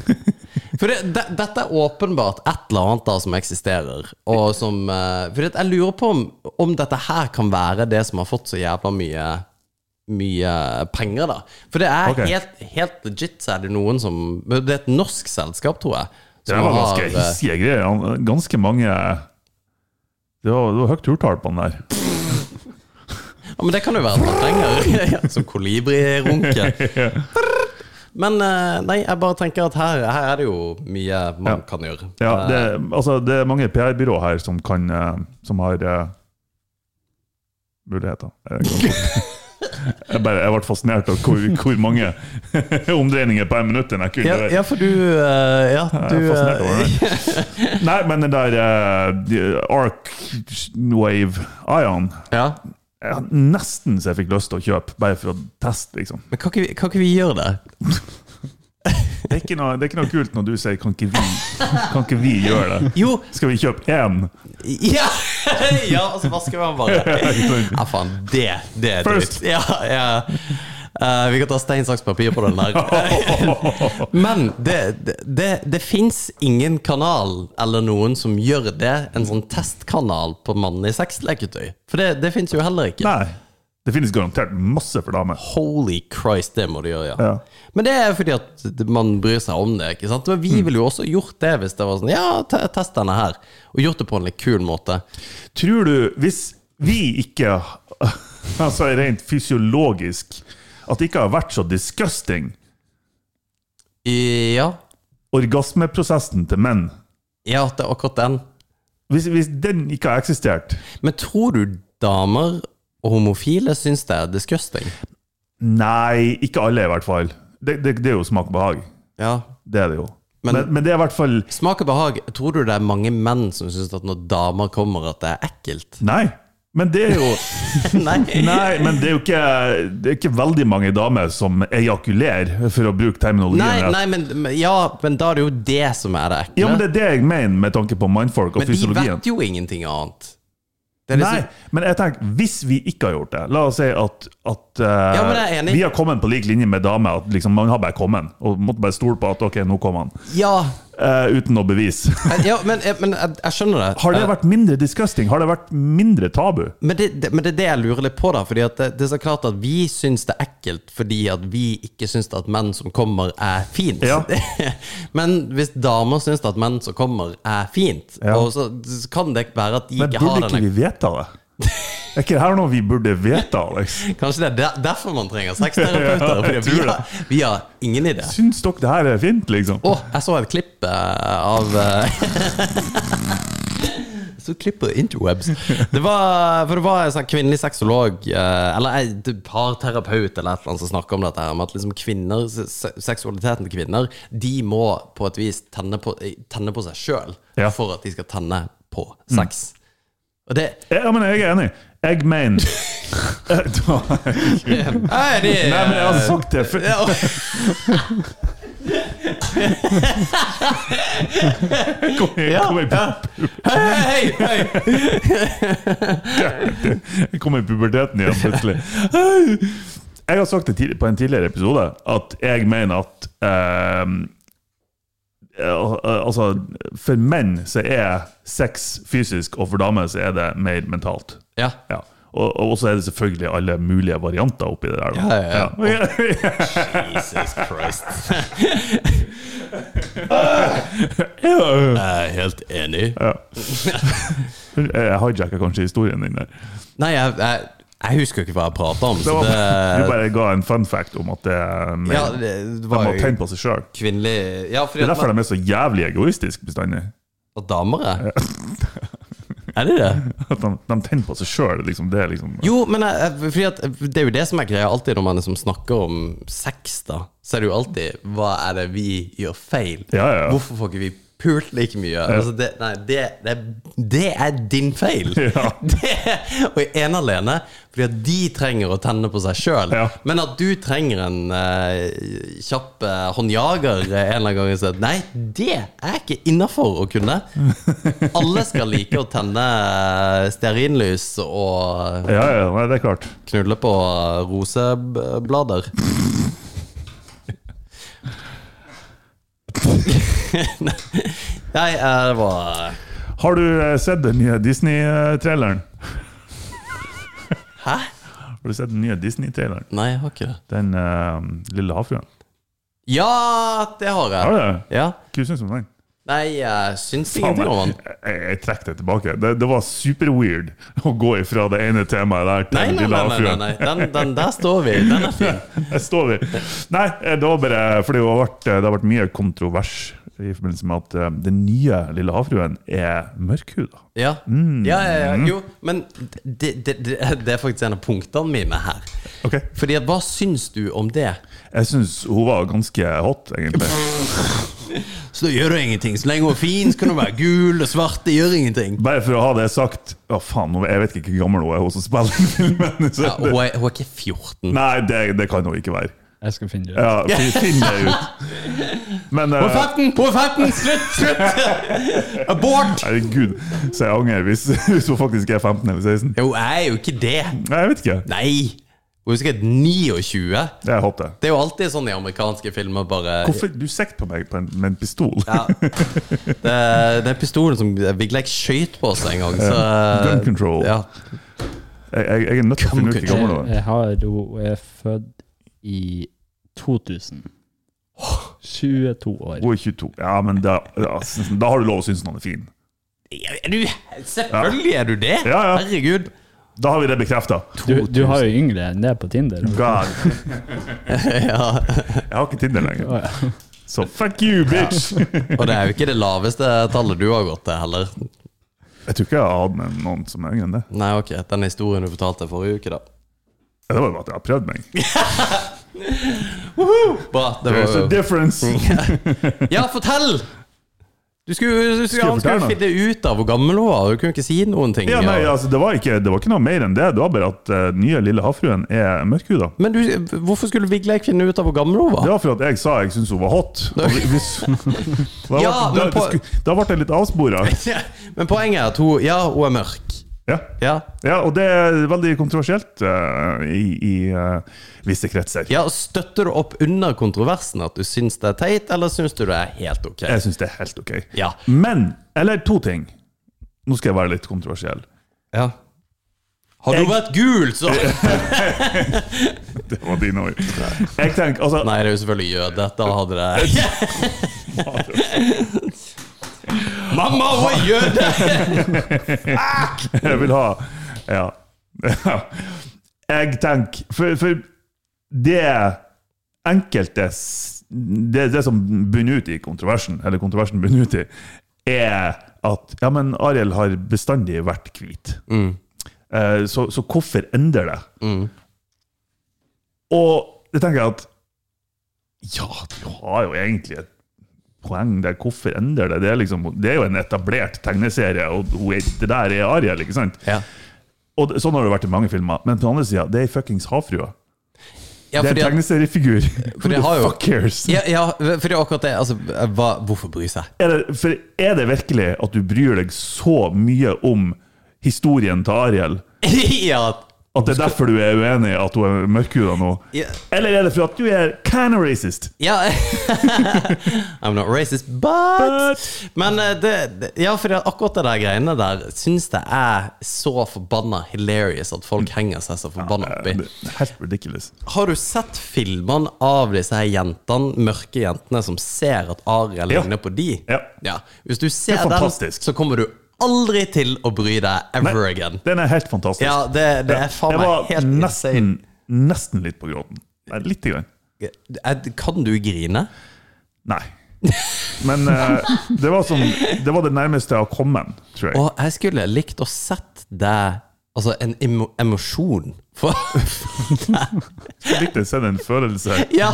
[SPEAKER 4] For det, de, dette er åpenbart et eller annet da som eksisterer. Og som, eh, for det, jeg lurer på om, om dette her kan være det som har fått så jævla mye mye penger, da. For det er
[SPEAKER 3] Ok.
[SPEAKER 4] helt, helt legit, så er det noen som Det er et norsk selskap, tror jeg.
[SPEAKER 3] Det
[SPEAKER 4] som
[SPEAKER 3] var
[SPEAKER 4] har,
[SPEAKER 3] ganske
[SPEAKER 4] eh,
[SPEAKER 3] hissige greier. Han- Ganske mange Det var, det var høyt turtall på den der.
[SPEAKER 4] Ja, men det kan jo være at man trenger ja, Som kolibrirunke. Men eh, nei, jeg bare tenker at her, her er det jo mye man
[SPEAKER 3] Ja.
[SPEAKER 4] kan gjøre. Eh,
[SPEAKER 3] Ja, det, altså, det er mange PR-byrå her som kan eh, Som har eh, muligheter. Jeg, kan godt- jeg, bare, jeg ble fascinert av hvor, hvor mange omdreininger på ett minutt enn jeg kunne.
[SPEAKER 4] Ja,
[SPEAKER 3] gjøre.
[SPEAKER 4] ja, for du eh, Ja,
[SPEAKER 3] Jeg
[SPEAKER 4] du
[SPEAKER 3] er
[SPEAKER 4] eh,
[SPEAKER 3] fascinert over det. Nei, men den der eh, Arc Wave Ion
[SPEAKER 4] ja.
[SPEAKER 3] jeg hadde Nesten så jeg fikk lyst til å kjøpe, bare for å teste, liksom.
[SPEAKER 4] Men kan ikke, vi- kan ikke vi gjøre det?
[SPEAKER 3] Det er ikke noe, det er ikke noe kult når du sier 'kan ikke vi, kan ikke vi gjøre det'?
[SPEAKER 4] Jo!
[SPEAKER 3] Skal vi kjøpe én?
[SPEAKER 4] Ja, ja og så vasker vi den bare. Ja, faen. Det, det er dritt.
[SPEAKER 3] First.
[SPEAKER 4] Ja, ja. Eh, vi kan ta stein, saks, papir på den der. Men det, det, det, det fins ingen kanal eller noen som gjør det, en sånn testkanal på mannen i sexleketøy. For det, det fins jo heller ikke.
[SPEAKER 3] Nei. Det finnes garantert masse for damer.
[SPEAKER 4] Holy Christ, det må de gjøre, ja.
[SPEAKER 3] Ja.
[SPEAKER 4] Men det er fordi at man bryr seg om det. ikke sant? Men vi ville jo også gjort det hvis det var sånn Ja, te- test denne her. Og gjort det på en litt kul måte.
[SPEAKER 3] Tror du, hvis vi ikke Altså rent fysiologisk At det ikke har vært så disgusting,
[SPEAKER 4] Ja,
[SPEAKER 3] orgasmeprosessen til menn
[SPEAKER 4] ja det er akkurat den.
[SPEAKER 3] Hvis, hvis den ikke har eksistert
[SPEAKER 4] Men tror du damer og homofile syns det er disgusting?
[SPEAKER 3] Nei, ikke alle i hvert fall. Det, det, det er jo smak og behag.
[SPEAKER 4] Ja.
[SPEAKER 3] Det er det jo.
[SPEAKER 4] Men-
[SPEAKER 3] Men, men, det er i hvert fall
[SPEAKER 4] Smak og behag. Tror du det er mange menn som syns at når damer kommer, at det er ekkelt?
[SPEAKER 3] Nei. Men det er jo
[SPEAKER 4] Nei.
[SPEAKER 3] Nei, men det er jo ikke, det er ikke veldig mange damer som ejakulerer, for å bruke terminologien.
[SPEAKER 4] Nei,
[SPEAKER 3] rett.
[SPEAKER 4] nei, men men- ja, men da er det jo det som er det ekle.
[SPEAKER 3] Ja, men det er det jeg mener med tanke på mannfolk og
[SPEAKER 4] men de
[SPEAKER 3] fysiologien.
[SPEAKER 4] vet jo ingenting annet. Det er
[SPEAKER 3] Nei,
[SPEAKER 4] liksom-
[SPEAKER 3] men jeg tenker, hvis vi ikke har gjort det La oss si at, at eh,
[SPEAKER 4] Ja, men jeg er enig.
[SPEAKER 3] vi har kommet på lik linje med damer. At liksom, man har bare kommet, og måtte bare stole på at ok, nå kom han.
[SPEAKER 4] Ja,
[SPEAKER 3] Eh, uten noe bevis.
[SPEAKER 4] ja men, men jeg, jeg skjønner det.
[SPEAKER 3] Har det vært mindre disgusting? Har det vært mindre tabu?
[SPEAKER 4] Men det, det, men det er det jeg lurer litt på, da. Fordi at det, det er så klart at vi syns det er ekkelt fordi at vi ikke syns at menn som kommer, er fint.
[SPEAKER 3] Ja.
[SPEAKER 4] men hvis damer syns at menn som kommer, er fint,
[SPEAKER 3] Ja.
[SPEAKER 4] og så så kan det ikke være at de
[SPEAKER 3] Men
[SPEAKER 4] ikke har
[SPEAKER 3] burde ikke
[SPEAKER 4] den
[SPEAKER 3] vi vite det? Er ikke det her noe vi burde vite, Alex?
[SPEAKER 4] Kanskje det er der, derfor man trenger sexterapeuter?
[SPEAKER 3] Ja,
[SPEAKER 4] fordi
[SPEAKER 3] jeg
[SPEAKER 4] at vi,
[SPEAKER 3] tror det.
[SPEAKER 4] har, vi har ingen idé.
[SPEAKER 3] Syns dere det her er fint, liksom?
[SPEAKER 4] Å, jeg så et klipp eh, av eh, Jeg så et klipp på interwebs. Det var, for det var en sånn kvinnelig sexolog, eh, eller en parterapeut eller et eller annet som snakka om dette her, om at liksom kvinner, se- seksualiteten til kvinner, de må på et vis tenne på, eh, tenne på seg sjøl
[SPEAKER 3] Ja.
[SPEAKER 4] for at de skal tenne på sex. Og det
[SPEAKER 3] Ja, men jeg er enig. Jeg mener
[SPEAKER 4] Nei, det
[SPEAKER 3] Nei, men jeg har sagt det før.
[SPEAKER 4] Ja.
[SPEAKER 3] Kom igjen, kom igjen.
[SPEAKER 4] Hei, hei, hei!
[SPEAKER 3] Jeg kom i puberteten igjen plutselig. Jeg har sagt det tidlig- på en tidligere episode at jeg mener at ehm, al- Altså, for menn så er sex fysisk, og for damer så er det mer mentalt.
[SPEAKER 4] Ja.
[SPEAKER 3] Ja. Og, og så er det selvfølgelig alle mulige varianter oppi det der. da.
[SPEAKER 4] Ja, ja,
[SPEAKER 3] ja.
[SPEAKER 4] Jesus Christ.
[SPEAKER 3] Ja.
[SPEAKER 4] Jeg er helt enig.
[SPEAKER 3] Jeg hijacka kanskje historien din der.
[SPEAKER 4] Nei, jeg, jeg, jeg husker jo ikke hva jeg prata om.
[SPEAKER 3] Det
[SPEAKER 4] Så
[SPEAKER 3] var, du
[SPEAKER 4] det,
[SPEAKER 3] bare ga en fun fact om at det er mer,
[SPEAKER 4] ja, det
[SPEAKER 3] de
[SPEAKER 4] var
[SPEAKER 3] har
[SPEAKER 4] jo
[SPEAKER 3] tegn på seg sjøl.
[SPEAKER 4] kvinnelig Ja, fordi
[SPEAKER 3] Det er
[SPEAKER 4] at
[SPEAKER 3] derfor
[SPEAKER 4] man-
[SPEAKER 3] de er så jævlig egoistiske bestandig.
[SPEAKER 4] at damer er Er det det?
[SPEAKER 3] At de, de tenner på seg sjøl. Liksom, det er liksom
[SPEAKER 4] Jo, men jeg, jeg- fordi at det er jo det som er greia alltid når man liksom snakker om sex, da. Så er det jo alltid Hva er det vi gjør feil?
[SPEAKER 3] Ja, ja.
[SPEAKER 4] Hvorfor får ikke vi pult like mye? Altså, det, nei, det, det, det er din feil!
[SPEAKER 3] Ja.
[SPEAKER 4] Det, og ene og alene fordi at de trenger å tenne på seg sjøl.
[SPEAKER 3] Ja.
[SPEAKER 4] Men at du trenger en eh, kjapp eh, håndjager eh, en eller annen gang og sier Nei, det er ikke innafor å kunne. Alle skal like å tenne eh, stearinlys og
[SPEAKER 3] Ja, ja, nei, det er klart.
[SPEAKER 4] knulle på eh, roseblader. Nei, eh, det var
[SPEAKER 3] Har du eh, sett den nye Disney-traileren?
[SPEAKER 4] Hæ?
[SPEAKER 3] Har du sett den nye Disney-traileren?
[SPEAKER 4] Nei, jeg har ikke det.
[SPEAKER 3] Den eh, lille havfruen?
[SPEAKER 4] Ja, det har
[SPEAKER 3] Har du
[SPEAKER 4] jeg.
[SPEAKER 3] det?
[SPEAKER 4] Ja.
[SPEAKER 3] Hva syns du om den?
[SPEAKER 4] Nei, jeg syns
[SPEAKER 3] Faen,
[SPEAKER 4] ingenting om han.
[SPEAKER 3] jeg, jeg, jeg trekker det tilbake. Det, det var super-weird å gå ifra det ene temaet der til
[SPEAKER 4] Nei, nei, nei,
[SPEAKER 3] lille
[SPEAKER 4] nei, nei,
[SPEAKER 3] havfruen.
[SPEAKER 4] nei. Den, den der står vi. Den er fin.
[SPEAKER 3] eh, Der står vi. Nei, det var bare fordi det har vært, det har vært mye kontrovers i forbindelse med at eh, den nye lille havfruen er mørkhuda.
[SPEAKER 4] Ja.
[SPEAKER 3] Mm.
[SPEAKER 4] ja, ja, ja. Jo, men det, det, det, det er faktisk en av punktene mine her.
[SPEAKER 3] Ok.
[SPEAKER 4] Fordi at hva syns du om det?
[SPEAKER 3] Jeg syns hun var ganske hot, egentlig.
[SPEAKER 4] Så det gjør det ingenting. Så lenge hun er fin, så kan hun være gul og svart. Det gjør ingenting.
[SPEAKER 3] Bare for å ha det sagt Å, faen, hun- jeg vet ikke hvor gammel hun er, hun som spiller i filmen. Så
[SPEAKER 4] Ja,
[SPEAKER 3] det,
[SPEAKER 4] hun, er, hun er ikke 14.
[SPEAKER 3] nei, det, det kan hun ikke være.
[SPEAKER 5] Jeg skal finne det ut.
[SPEAKER 3] Ja, fi- finn det ut. Men eh,
[SPEAKER 4] Hun er 15! Hun er 15! Slutt! Slutt! Abort!
[SPEAKER 3] herregud, så jeg angrer hvis, hvis hun faktisk er 15 eller 16.
[SPEAKER 4] Jo, jeg er jo ikke det.
[SPEAKER 3] Nei, jeg vet ikke.
[SPEAKER 4] Nei! Hun er sikkert 29.
[SPEAKER 3] Det er hot, det.
[SPEAKER 4] Det er jo alltid sånn i amerikanske filmer, bare
[SPEAKER 3] Hvorfor du sikter på meg på en, med en pistol?
[SPEAKER 4] Ja. Det, den pistolen som Big Leg skøyt på oss en gang, så
[SPEAKER 3] Gun control.
[SPEAKER 4] Ja.
[SPEAKER 3] Jeg, jeg, jeg er nødt til å finne ut hvor gammel hun er.
[SPEAKER 5] Jeg har Hun er født i 2000. 22 år.
[SPEAKER 3] Hun er 22. Ja, men da, ja, da har du lov å synes noen er fin.
[SPEAKER 4] Er du, selvfølgelig er du det!
[SPEAKER 3] Ja, ja.
[SPEAKER 4] Herregud.
[SPEAKER 3] Da har vi det bekrefta.
[SPEAKER 5] Du, du har jo yngre enn det på Tinder.
[SPEAKER 3] God.
[SPEAKER 4] Ja.
[SPEAKER 3] Jeg har ikke Tinder lenger.
[SPEAKER 5] Å, ja.
[SPEAKER 3] Så fuck you, bitch!
[SPEAKER 4] Og det er jo ikke det laveste tallet du har gått til, heller.
[SPEAKER 3] Jeg tror ikke jeg har hatt med noen som er yngre enn det.
[SPEAKER 4] Nei, ok, den historien du fortalte forrige uke, da.
[SPEAKER 3] Ja, Det var jo bare at jeg har prøvd meg.
[SPEAKER 4] Bra. Det
[SPEAKER 3] There's a
[SPEAKER 4] var, Mm.
[SPEAKER 3] difference!
[SPEAKER 4] ja, fortell! Du skulle, du skulle,
[SPEAKER 3] jeg
[SPEAKER 4] han skulle
[SPEAKER 3] fortelle
[SPEAKER 4] finne ut av hvor gammel hun var. Du kunne ikke si noen ting.
[SPEAKER 3] Ja, nei,
[SPEAKER 4] og-
[SPEAKER 3] altså, det, var ikke, det var ikke noe mer enn det. Det var bare at eh, nye Lille havfruen er mørkhuda.
[SPEAKER 4] Men du, hvorfor skulle Vigleik finne ut av hvor gammel hun
[SPEAKER 3] Det
[SPEAKER 4] var?
[SPEAKER 3] var for at jeg sa jeg syntes hun var hot. Og hvis- da,
[SPEAKER 4] Ja,
[SPEAKER 3] ble, da,
[SPEAKER 4] men på-
[SPEAKER 3] det skulle- da ble jeg litt avspora.
[SPEAKER 4] Men poenget er at hun Ja, hun er mørk.
[SPEAKER 3] Ja.
[SPEAKER 4] Ja,
[SPEAKER 3] ja, og det er veldig kontroversielt eh, i, i eh, visse kretser.
[SPEAKER 4] ja Støtter du opp under kontroversen at du syns det er teit, eller syns du det er helt ok?
[SPEAKER 3] Jeg syns det er helt ok.
[SPEAKER 4] Ja.
[SPEAKER 3] Men Eller to ting. Nå skal jeg være litt kontroversiell.
[SPEAKER 4] ja. Har du
[SPEAKER 3] Jeg-
[SPEAKER 4] vært gul, så
[SPEAKER 3] Det var dine ord. Jeg tenker, altså,
[SPEAKER 4] Nei, det er jo selvfølgelig jøde. Da hadde det Mamma, hun er jøde!
[SPEAKER 3] Jeg vil ha Ja. Jeg tenker For, for det enkelte s- det, det som bunner ut i kontroversen, eller kontroversen bunner ut i, er at ja, men Ariel har bestandig vært hvit. Eh, Så, så hvorfor endrer det? Og det tenker jeg at ja, du har jo egentlig et poeng der. Hvorfor endrer det? Det er, liksom, det er jo en etablert tegneserie, og hun er, det der er Ariel, ikke sant?
[SPEAKER 4] Ja.
[SPEAKER 3] Og det, sånn har det vært i mange filmer. Men på den andre sida, det er ei fuckings havfrue.
[SPEAKER 4] Ja,
[SPEAKER 3] Det
[SPEAKER 4] fordi
[SPEAKER 3] er en
[SPEAKER 4] at-
[SPEAKER 3] tegneseriefigur. Who
[SPEAKER 4] det
[SPEAKER 3] the
[SPEAKER 4] har jo-
[SPEAKER 3] fuck cares?
[SPEAKER 4] ja, ja, for det er akkurat det. Altså, hva, hvorfor bry seg?
[SPEAKER 3] Er det, for er det virkelig at du bryr deg så mye om historien til Ariel
[SPEAKER 4] ja,
[SPEAKER 3] at det er derfor du er uenig i at hun er mørkhuda nå?
[SPEAKER 4] Ja.
[SPEAKER 3] Eller er det for at du er kind of racist?
[SPEAKER 4] ja. I'm not racist, but,
[SPEAKER 3] But-
[SPEAKER 4] Men eh, det, det- ja, for det, akkurat det der greiene der syns jeg er så forbanna hilarious at folk henger seg så forbanna
[SPEAKER 3] Eh,
[SPEAKER 4] oppi.
[SPEAKER 3] det er Helt ridiculous.
[SPEAKER 4] Har du sett filmene av disse her jentene, mørke jentene, som ser at Ariel
[SPEAKER 3] Ja.
[SPEAKER 4] ligner på de?
[SPEAKER 3] Ja.
[SPEAKER 4] Hvis du ser den,
[SPEAKER 3] fantastisk.
[SPEAKER 4] så kommer du aldri til å bry deg
[SPEAKER 3] Nei,
[SPEAKER 4] ever again.
[SPEAKER 3] Den er helt fantastisk.
[SPEAKER 4] Ja, det, det er faen
[SPEAKER 3] Jeg
[SPEAKER 4] meg
[SPEAKER 3] var
[SPEAKER 4] helt
[SPEAKER 3] nesten, nesten litt på gråten. Nei, Lite grann.
[SPEAKER 4] insane. Er- Eh, Kan du grine?
[SPEAKER 3] Nei. Men eh, det, var som, det var det nærmeste jeg har kommet, tror jeg.
[SPEAKER 4] Og jeg skulle likt å sett deg Altså en emo emosjon. For,
[SPEAKER 3] Jeg likte å se den følelsen.
[SPEAKER 4] ja,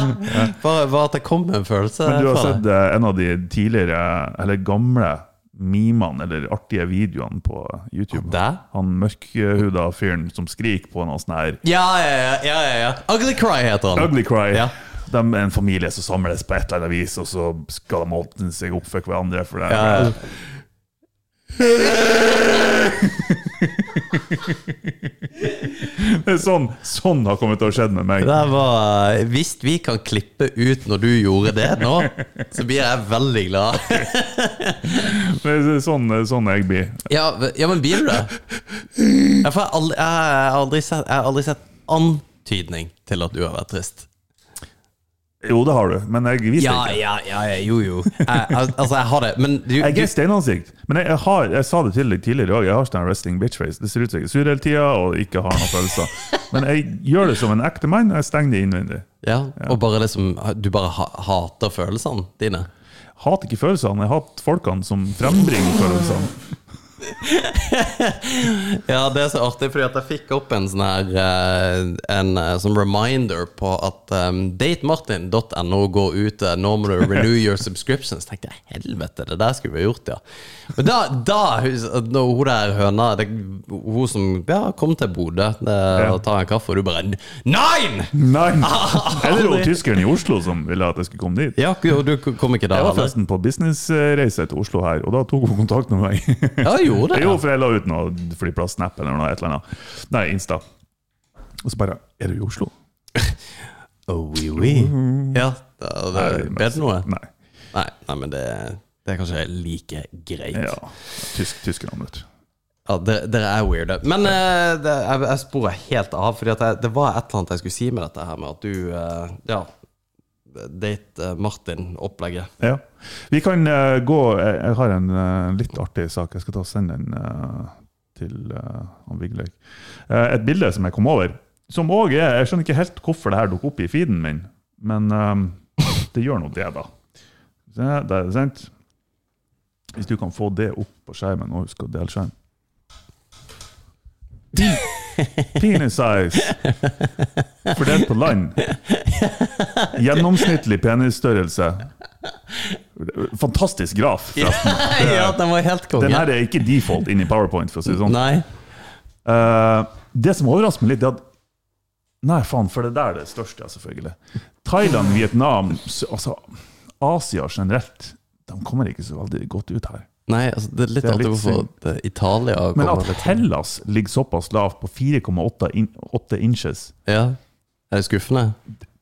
[SPEAKER 4] bare, bare at det kom en følelse.
[SPEAKER 3] Men du har
[SPEAKER 4] fra
[SPEAKER 3] sett
[SPEAKER 4] deg.
[SPEAKER 3] eh, en av de tidligere, eller gamle, memene, eller artige videoene på YouTube.
[SPEAKER 4] Deg?
[SPEAKER 3] Han mørkhuda fyren som skriker på noe sånn her
[SPEAKER 4] Ja, ja, ja, ja, ja, ja. Ugly Cry heter han.
[SPEAKER 3] Ugly Cry.
[SPEAKER 4] Ja.
[SPEAKER 3] De er en familie som samles på et eller annet vis, og så skal de åpne seg opp for hverandre. For det.
[SPEAKER 4] Ja, ja.
[SPEAKER 3] Det er sånn, sånn har kommet til å skje med meg.
[SPEAKER 4] Det der var Hvis vi kan klippe ut når du gjorde det nå, så blir jeg veldig glad.
[SPEAKER 3] Det er sånn, sånn jeg blir.
[SPEAKER 4] Ja, ja men blir du det? Ja, for Jeg har aldri, jeg har aldri, sett- jeg har aldri sett antydning til at du har vært trist.
[SPEAKER 3] Jo, det har du, men jeg viser
[SPEAKER 4] Ja,
[SPEAKER 3] ikke.
[SPEAKER 4] ja, ja, ja jo, jo. Jeg, al- altså, jeg har det, men du,
[SPEAKER 3] Jeg
[SPEAKER 4] du
[SPEAKER 3] er steinansikt, men jeg, jeg, har, jeg sa det til deg tidligere òg. Jeg har sånn resting bitch face. Det ser ut som jeg er sur hele tida og ikke har noen følelser. Men jeg gjør det som en ekte mann, og jeg stenger det innvendig.
[SPEAKER 4] ja, Og bare liksom Du bare ha, hater følelsene dine?
[SPEAKER 3] hater ikke følelsene, jeg hater folkene som frembringer følelsene.
[SPEAKER 4] Ja, det er så artig, fordi at jeg fikk opp en sånn her eh, En eh, sånn reminder på at um, datemartin.no går ut eh, Nå må du renew your subscription. Så tenkte jeg helvete, det der skulle vi ha gjort, ja. Men da, da hus- når hun der høna det, Hun som ja, kom til Bodø eh, og tar en kaffe, og du bare Nein!
[SPEAKER 3] Nei! Eller jo tyskeren i Oslo som ville at jeg skulle komme dit.
[SPEAKER 4] Ja, og du kom ikke da?
[SPEAKER 3] Jeg var
[SPEAKER 4] eller?
[SPEAKER 3] forresten på businessreise til Oslo her, og da tok hun kontakt med meg.
[SPEAKER 4] Ja, jeg gjorde det.
[SPEAKER 3] Jo, for jeg la ut noe flyplass-snap eller noe et eller annet. Nei, Insta. Og så bare Er du i Oslo?
[SPEAKER 4] Oh, oui, oui. Ja, det, det,
[SPEAKER 3] men-
[SPEAKER 4] ble det noe?
[SPEAKER 3] Nei.
[SPEAKER 4] Nei, nei men det, det er kanskje like greit.
[SPEAKER 3] Ja. Tysk, tyskerne, vet du.
[SPEAKER 4] Ja, dere, dere er weirde. Men eh, det, jeg, jeg sporer helt av, Fordi at jeg, det var et eller annet jeg skulle si med dette her med at du eh, Ja, date eh, Martin-opplegget.
[SPEAKER 3] Ja. Vi kan eh, gå jeg, jeg har en eh, litt artig sak. Jeg skal ta og sende den eh, til eh, han Vigleik. Eh, et bilde som jeg kom over. Som også er Jeg skjønner ikke helt hvorfor det her dukker opp i feeden min, men eh, det gjør nå det, da. Se, der, er det sant? Hvis du kan få det opp på skjermen og huske å dele skjerm. Penis size fordelt på land. Gjennomsnittlig penisstørrelse. Fantastisk graf, forresten.
[SPEAKER 4] ja, den var helt konge.
[SPEAKER 3] Den her er ikke default inn i Powerpoint, for å si det sånn.
[SPEAKER 4] Nei.
[SPEAKER 3] Eh, det som overrasker meg litt, det er at Nei, faen, for det der er det største, ja, selvfølgelig. Thailand, Vietnam, s- altså Asia generelt, de kommer ikke så veldig godt ut her.
[SPEAKER 4] Nei, altså, det er litt
[SPEAKER 3] Det er
[SPEAKER 4] artig
[SPEAKER 3] litt
[SPEAKER 4] hvorfor
[SPEAKER 3] synd.
[SPEAKER 4] at, eh, Italia
[SPEAKER 3] Men
[SPEAKER 4] kommer
[SPEAKER 3] at
[SPEAKER 4] litt sånn.
[SPEAKER 3] Hellas ligger såpass lavt, på 4,8 in åtte inches
[SPEAKER 4] Ja. Er det skuffende?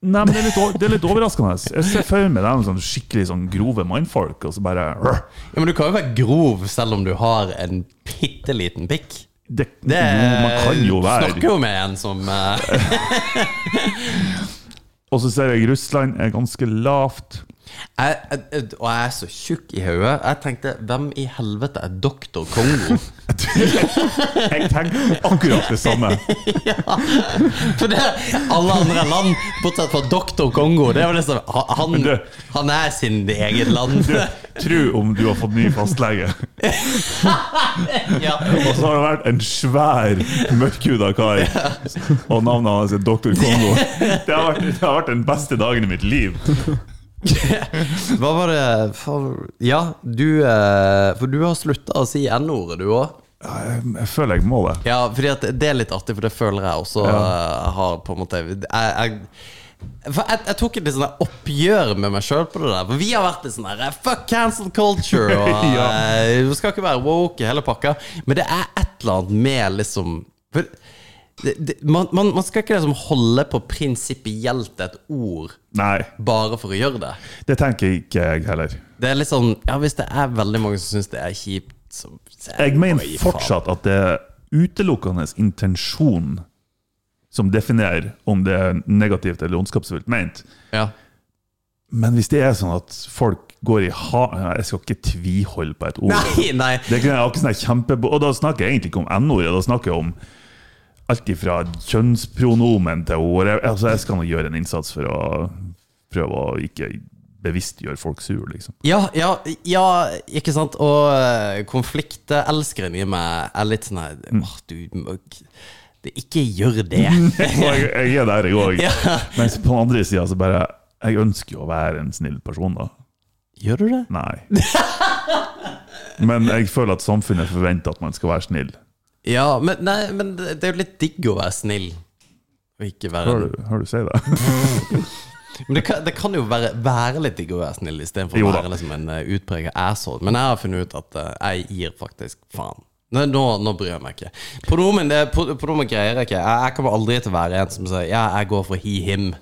[SPEAKER 3] Nei, men det er litt, o- det er litt overraskende. Jeg ser for meg dem sånn skikkelig sånn grove mannfolk, og så bare
[SPEAKER 4] Ja, Men du kan jo være grov selv om du har en bitte liten pikk.
[SPEAKER 3] det,
[SPEAKER 4] Det
[SPEAKER 3] jo, Man kan jo være
[SPEAKER 4] Snakker jo med en som eh,
[SPEAKER 3] Og så ser jeg Russland er ganske lavt.
[SPEAKER 4] jeg, jeg, Og jeg er så tjukk i hodet. Jeg tenkte, hvem i helvete er doktor Kongo?
[SPEAKER 3] Jeg tenker akkurat det samme.
[SPEAKER 4] For det alle andre land, bortsett fra doktor Kongo Det er jo liksom ha- Han,
[SPEAKER 3] du-
[SPEAKER 4] han er sin eget land.
[SPEAKER 3] Du, tro om du har fått ny fastlege.
[SPEAKER 4] Ja.
[SPEAKER 3] Og så har det vært en svær, mørkhuda kar, og navnet hans er Doktor Kongo. Det har, vært, det har vært den beste dagen i mitt liv.
[SPEAKER 4] Hva var det for Ja, du eh, For du har slutta å si N-ordet, du òg.
[SPEAKER 3] Jeg føler jeg må det.
[SPEAKER 4] Ja, fordi at det er litt artig, for det føler jeg også
[SPEAKER 3] Ja.
[SPEAKER 4] eh, har på en måte Jeg, jeg for jeg, jeg tok et litt sånn der oppgjør med meg sjøl på det der. For vi har vært litt sånn der Fuck cancel culture! Og
[SPEAKER 3] Ja.
[SPEAKER 4] eh, Du skal ikke være woke i hele pakka. Men det er et eller annet med liksom for, det, det, man, man, man skal ikke liksom holde på prinsipielt et ord
[SPEAKER 3] Nei,
[SPEAKER 4] bare for å gjøre det.
[SPEAKER 3] det tenker ikke jeg heller.
[SPEAKER 4] Det er litt sånn Ja, hvis det er veldig mange som syns det er kjipt, så så er
[SPEAKER 3] Jeg
[SPEAKER 4] det
[SPEAKER 3] mener
[SPEAKER 4] bare å gi faen.
[SPEAKER 3] fortsatt at det er utelukkende intensjon som definerer om det er negativt eller ondskapsfullt ment.
[SPEAKER 4] Ja.
[SPEAKER 3] Men hvis det er sånn at folk går i ha... Nei, Jeg skal ikke tviholde på et ord.
[SPEAKER 4] Nei, nei.
[SPEAKER 3] Det er ikke, jeg har ikke sånn her kjempe... Og da snakker jeg egentlig ikke om N-ordet, da snakker jeg om alt ifra kjønnspronomen til ord. Jeg- Altså, jeg skal nå gjøre en innsats for å prøve å ikke bevisstgjøre folk sur, liksom.
[SPEAKER 4] Ja, ja, ja, ikke sant? Og eh, konfliktelskeren i meg er litt sånn her «Åh, du, må ikke- det- Ikke gjør det!
[SPEAKER 3] Og jeg, jeg er der, jeg òg.
[SPEAKER 4] Ja.
[SPEAKER 3] Mens på den andre sida så bare Jeg ønsker jo å være en snill person, da.
[SPEAKER 4] Gjør du det?
[SPEAKER 3] Nei. Men jeg føler at samfunnet forventer at man skal være snill.
[SPEAKER 4] Ja, men, nei, men det det er jo litt digg å være snill. Og ikke
[SPEAKER 3] Hører
[SPEAKER 4] være
[SPEAKER 3] du, hører du si det?
[SPEAKER 4] Men det kan, det kan jo være, være litt digg å være snill istedenfor å
[SPEAKER 3] Jo da.
[SPEAKER 4] være liksom en eh, utpreget asshole. Men jeg har funnet ut at eh, jeg gir faktisk faen. Nei, nå, nå bryr jeg meg ikke. Pronomen, det- pro- pronomen greier jeg ikke. Jeg, jeg kommer aldri til å være en som sier ja, jeg går for he-him.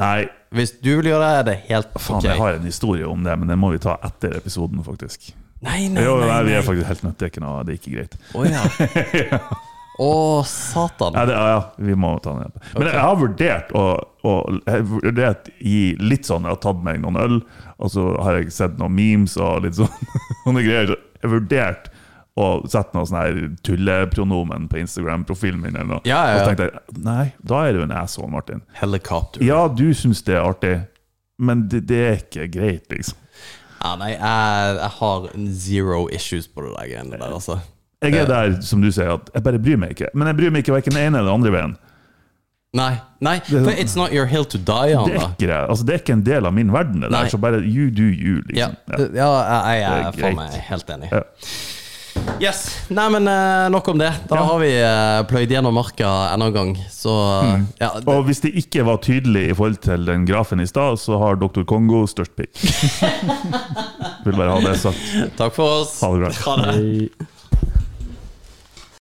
[SPEAKER 3] Nei,
[SPEAKER 4] Hvis du vil gjøre det, er det helt ok.
[SPEAKER 3] faen, jeg har en historie om det, men den må vi ta etter episoden, faktisk.
[SPEAKER 4] Nei, nei,
[SPEAKER 3] Jo, nei,
[SPEAKER 4] nei,
[SPEAKER 3] vi er
[SPEAKER 4] nei.
[SPEAKER 3] faktisk helt nødt. Det er ikke noe, det er ikke greit.
[SPEAKER 4] Å ja. Å, satan.
[SPEAKER 3] Nei, det, ja, ja, vi må ta den igjen. Men jeg har vurdert å, å jeg har vurdert i litt sånn Jeg har tatt meg noen øl, og så har jeg sett noen memes og litt sånn, sånne greier. Så jeg har vurdert å sette noe sånn her tullepronomen på Instagram-profilen min. eller noe.
[SPEAKER 4] Ja, ja, ja.
[SPEAKER 3] Og så tenkte jeg nei, da er du en asshole, Martin.
[SPEAKER 4] Helikopter.
[SPEAKER 3] Ja, du syns det er artig, men det, det er ikke greit, liksom.
[SPEAKER 4] Ja, nei, jeg, jeg har zero issues på det der greiene der, altså.
[SPEAKER 3] Jeg er der, som du sier, at jeg bare bryr meg ikke. Men jeg bryr meg ikke hverken den ene eller den andre veien.
[SPEAKER 4] Nei, nei, for it's not your hill to die on,
[SPEAKER 3] sånn- Det er
[SPEAKER 4] da.
[SPEAKER 3] ikke, det. altså, det er ikke en del av min verden. Det
[SPEAKER 4] Nei.
[SPEAKER 3] der, så bare you do you,
[SPEAKER 4] Ja,
[SPEAKER 3] liksom.
[SPEAKER 4] det- ja jeg, jeg er
[SPEAKER 3] Det er
[SPEAKER 4] faen
[SPEAKER 3] greit.
[SPEAKER 4] meg helt enig.
[SPEAKER 3] Ja.
[SPEAKER 4] Yes. Nei, men eh, nok om det. Da har vi eh, pløyd gjennom marka enda en gang, så ja, det-
[SPEAKER 3] Mm. Og hvis det ikke var tydelig i forhold til den grafen i stad, så har Dr. Kongo størst pikk. Vil bare ha det sagt.
[SPEAKER 4] Takk for oss.
[SPEAKER 3] Ha det bra.
[SPEAKER 4] Ha det.
[SPEAKER 5] Hei.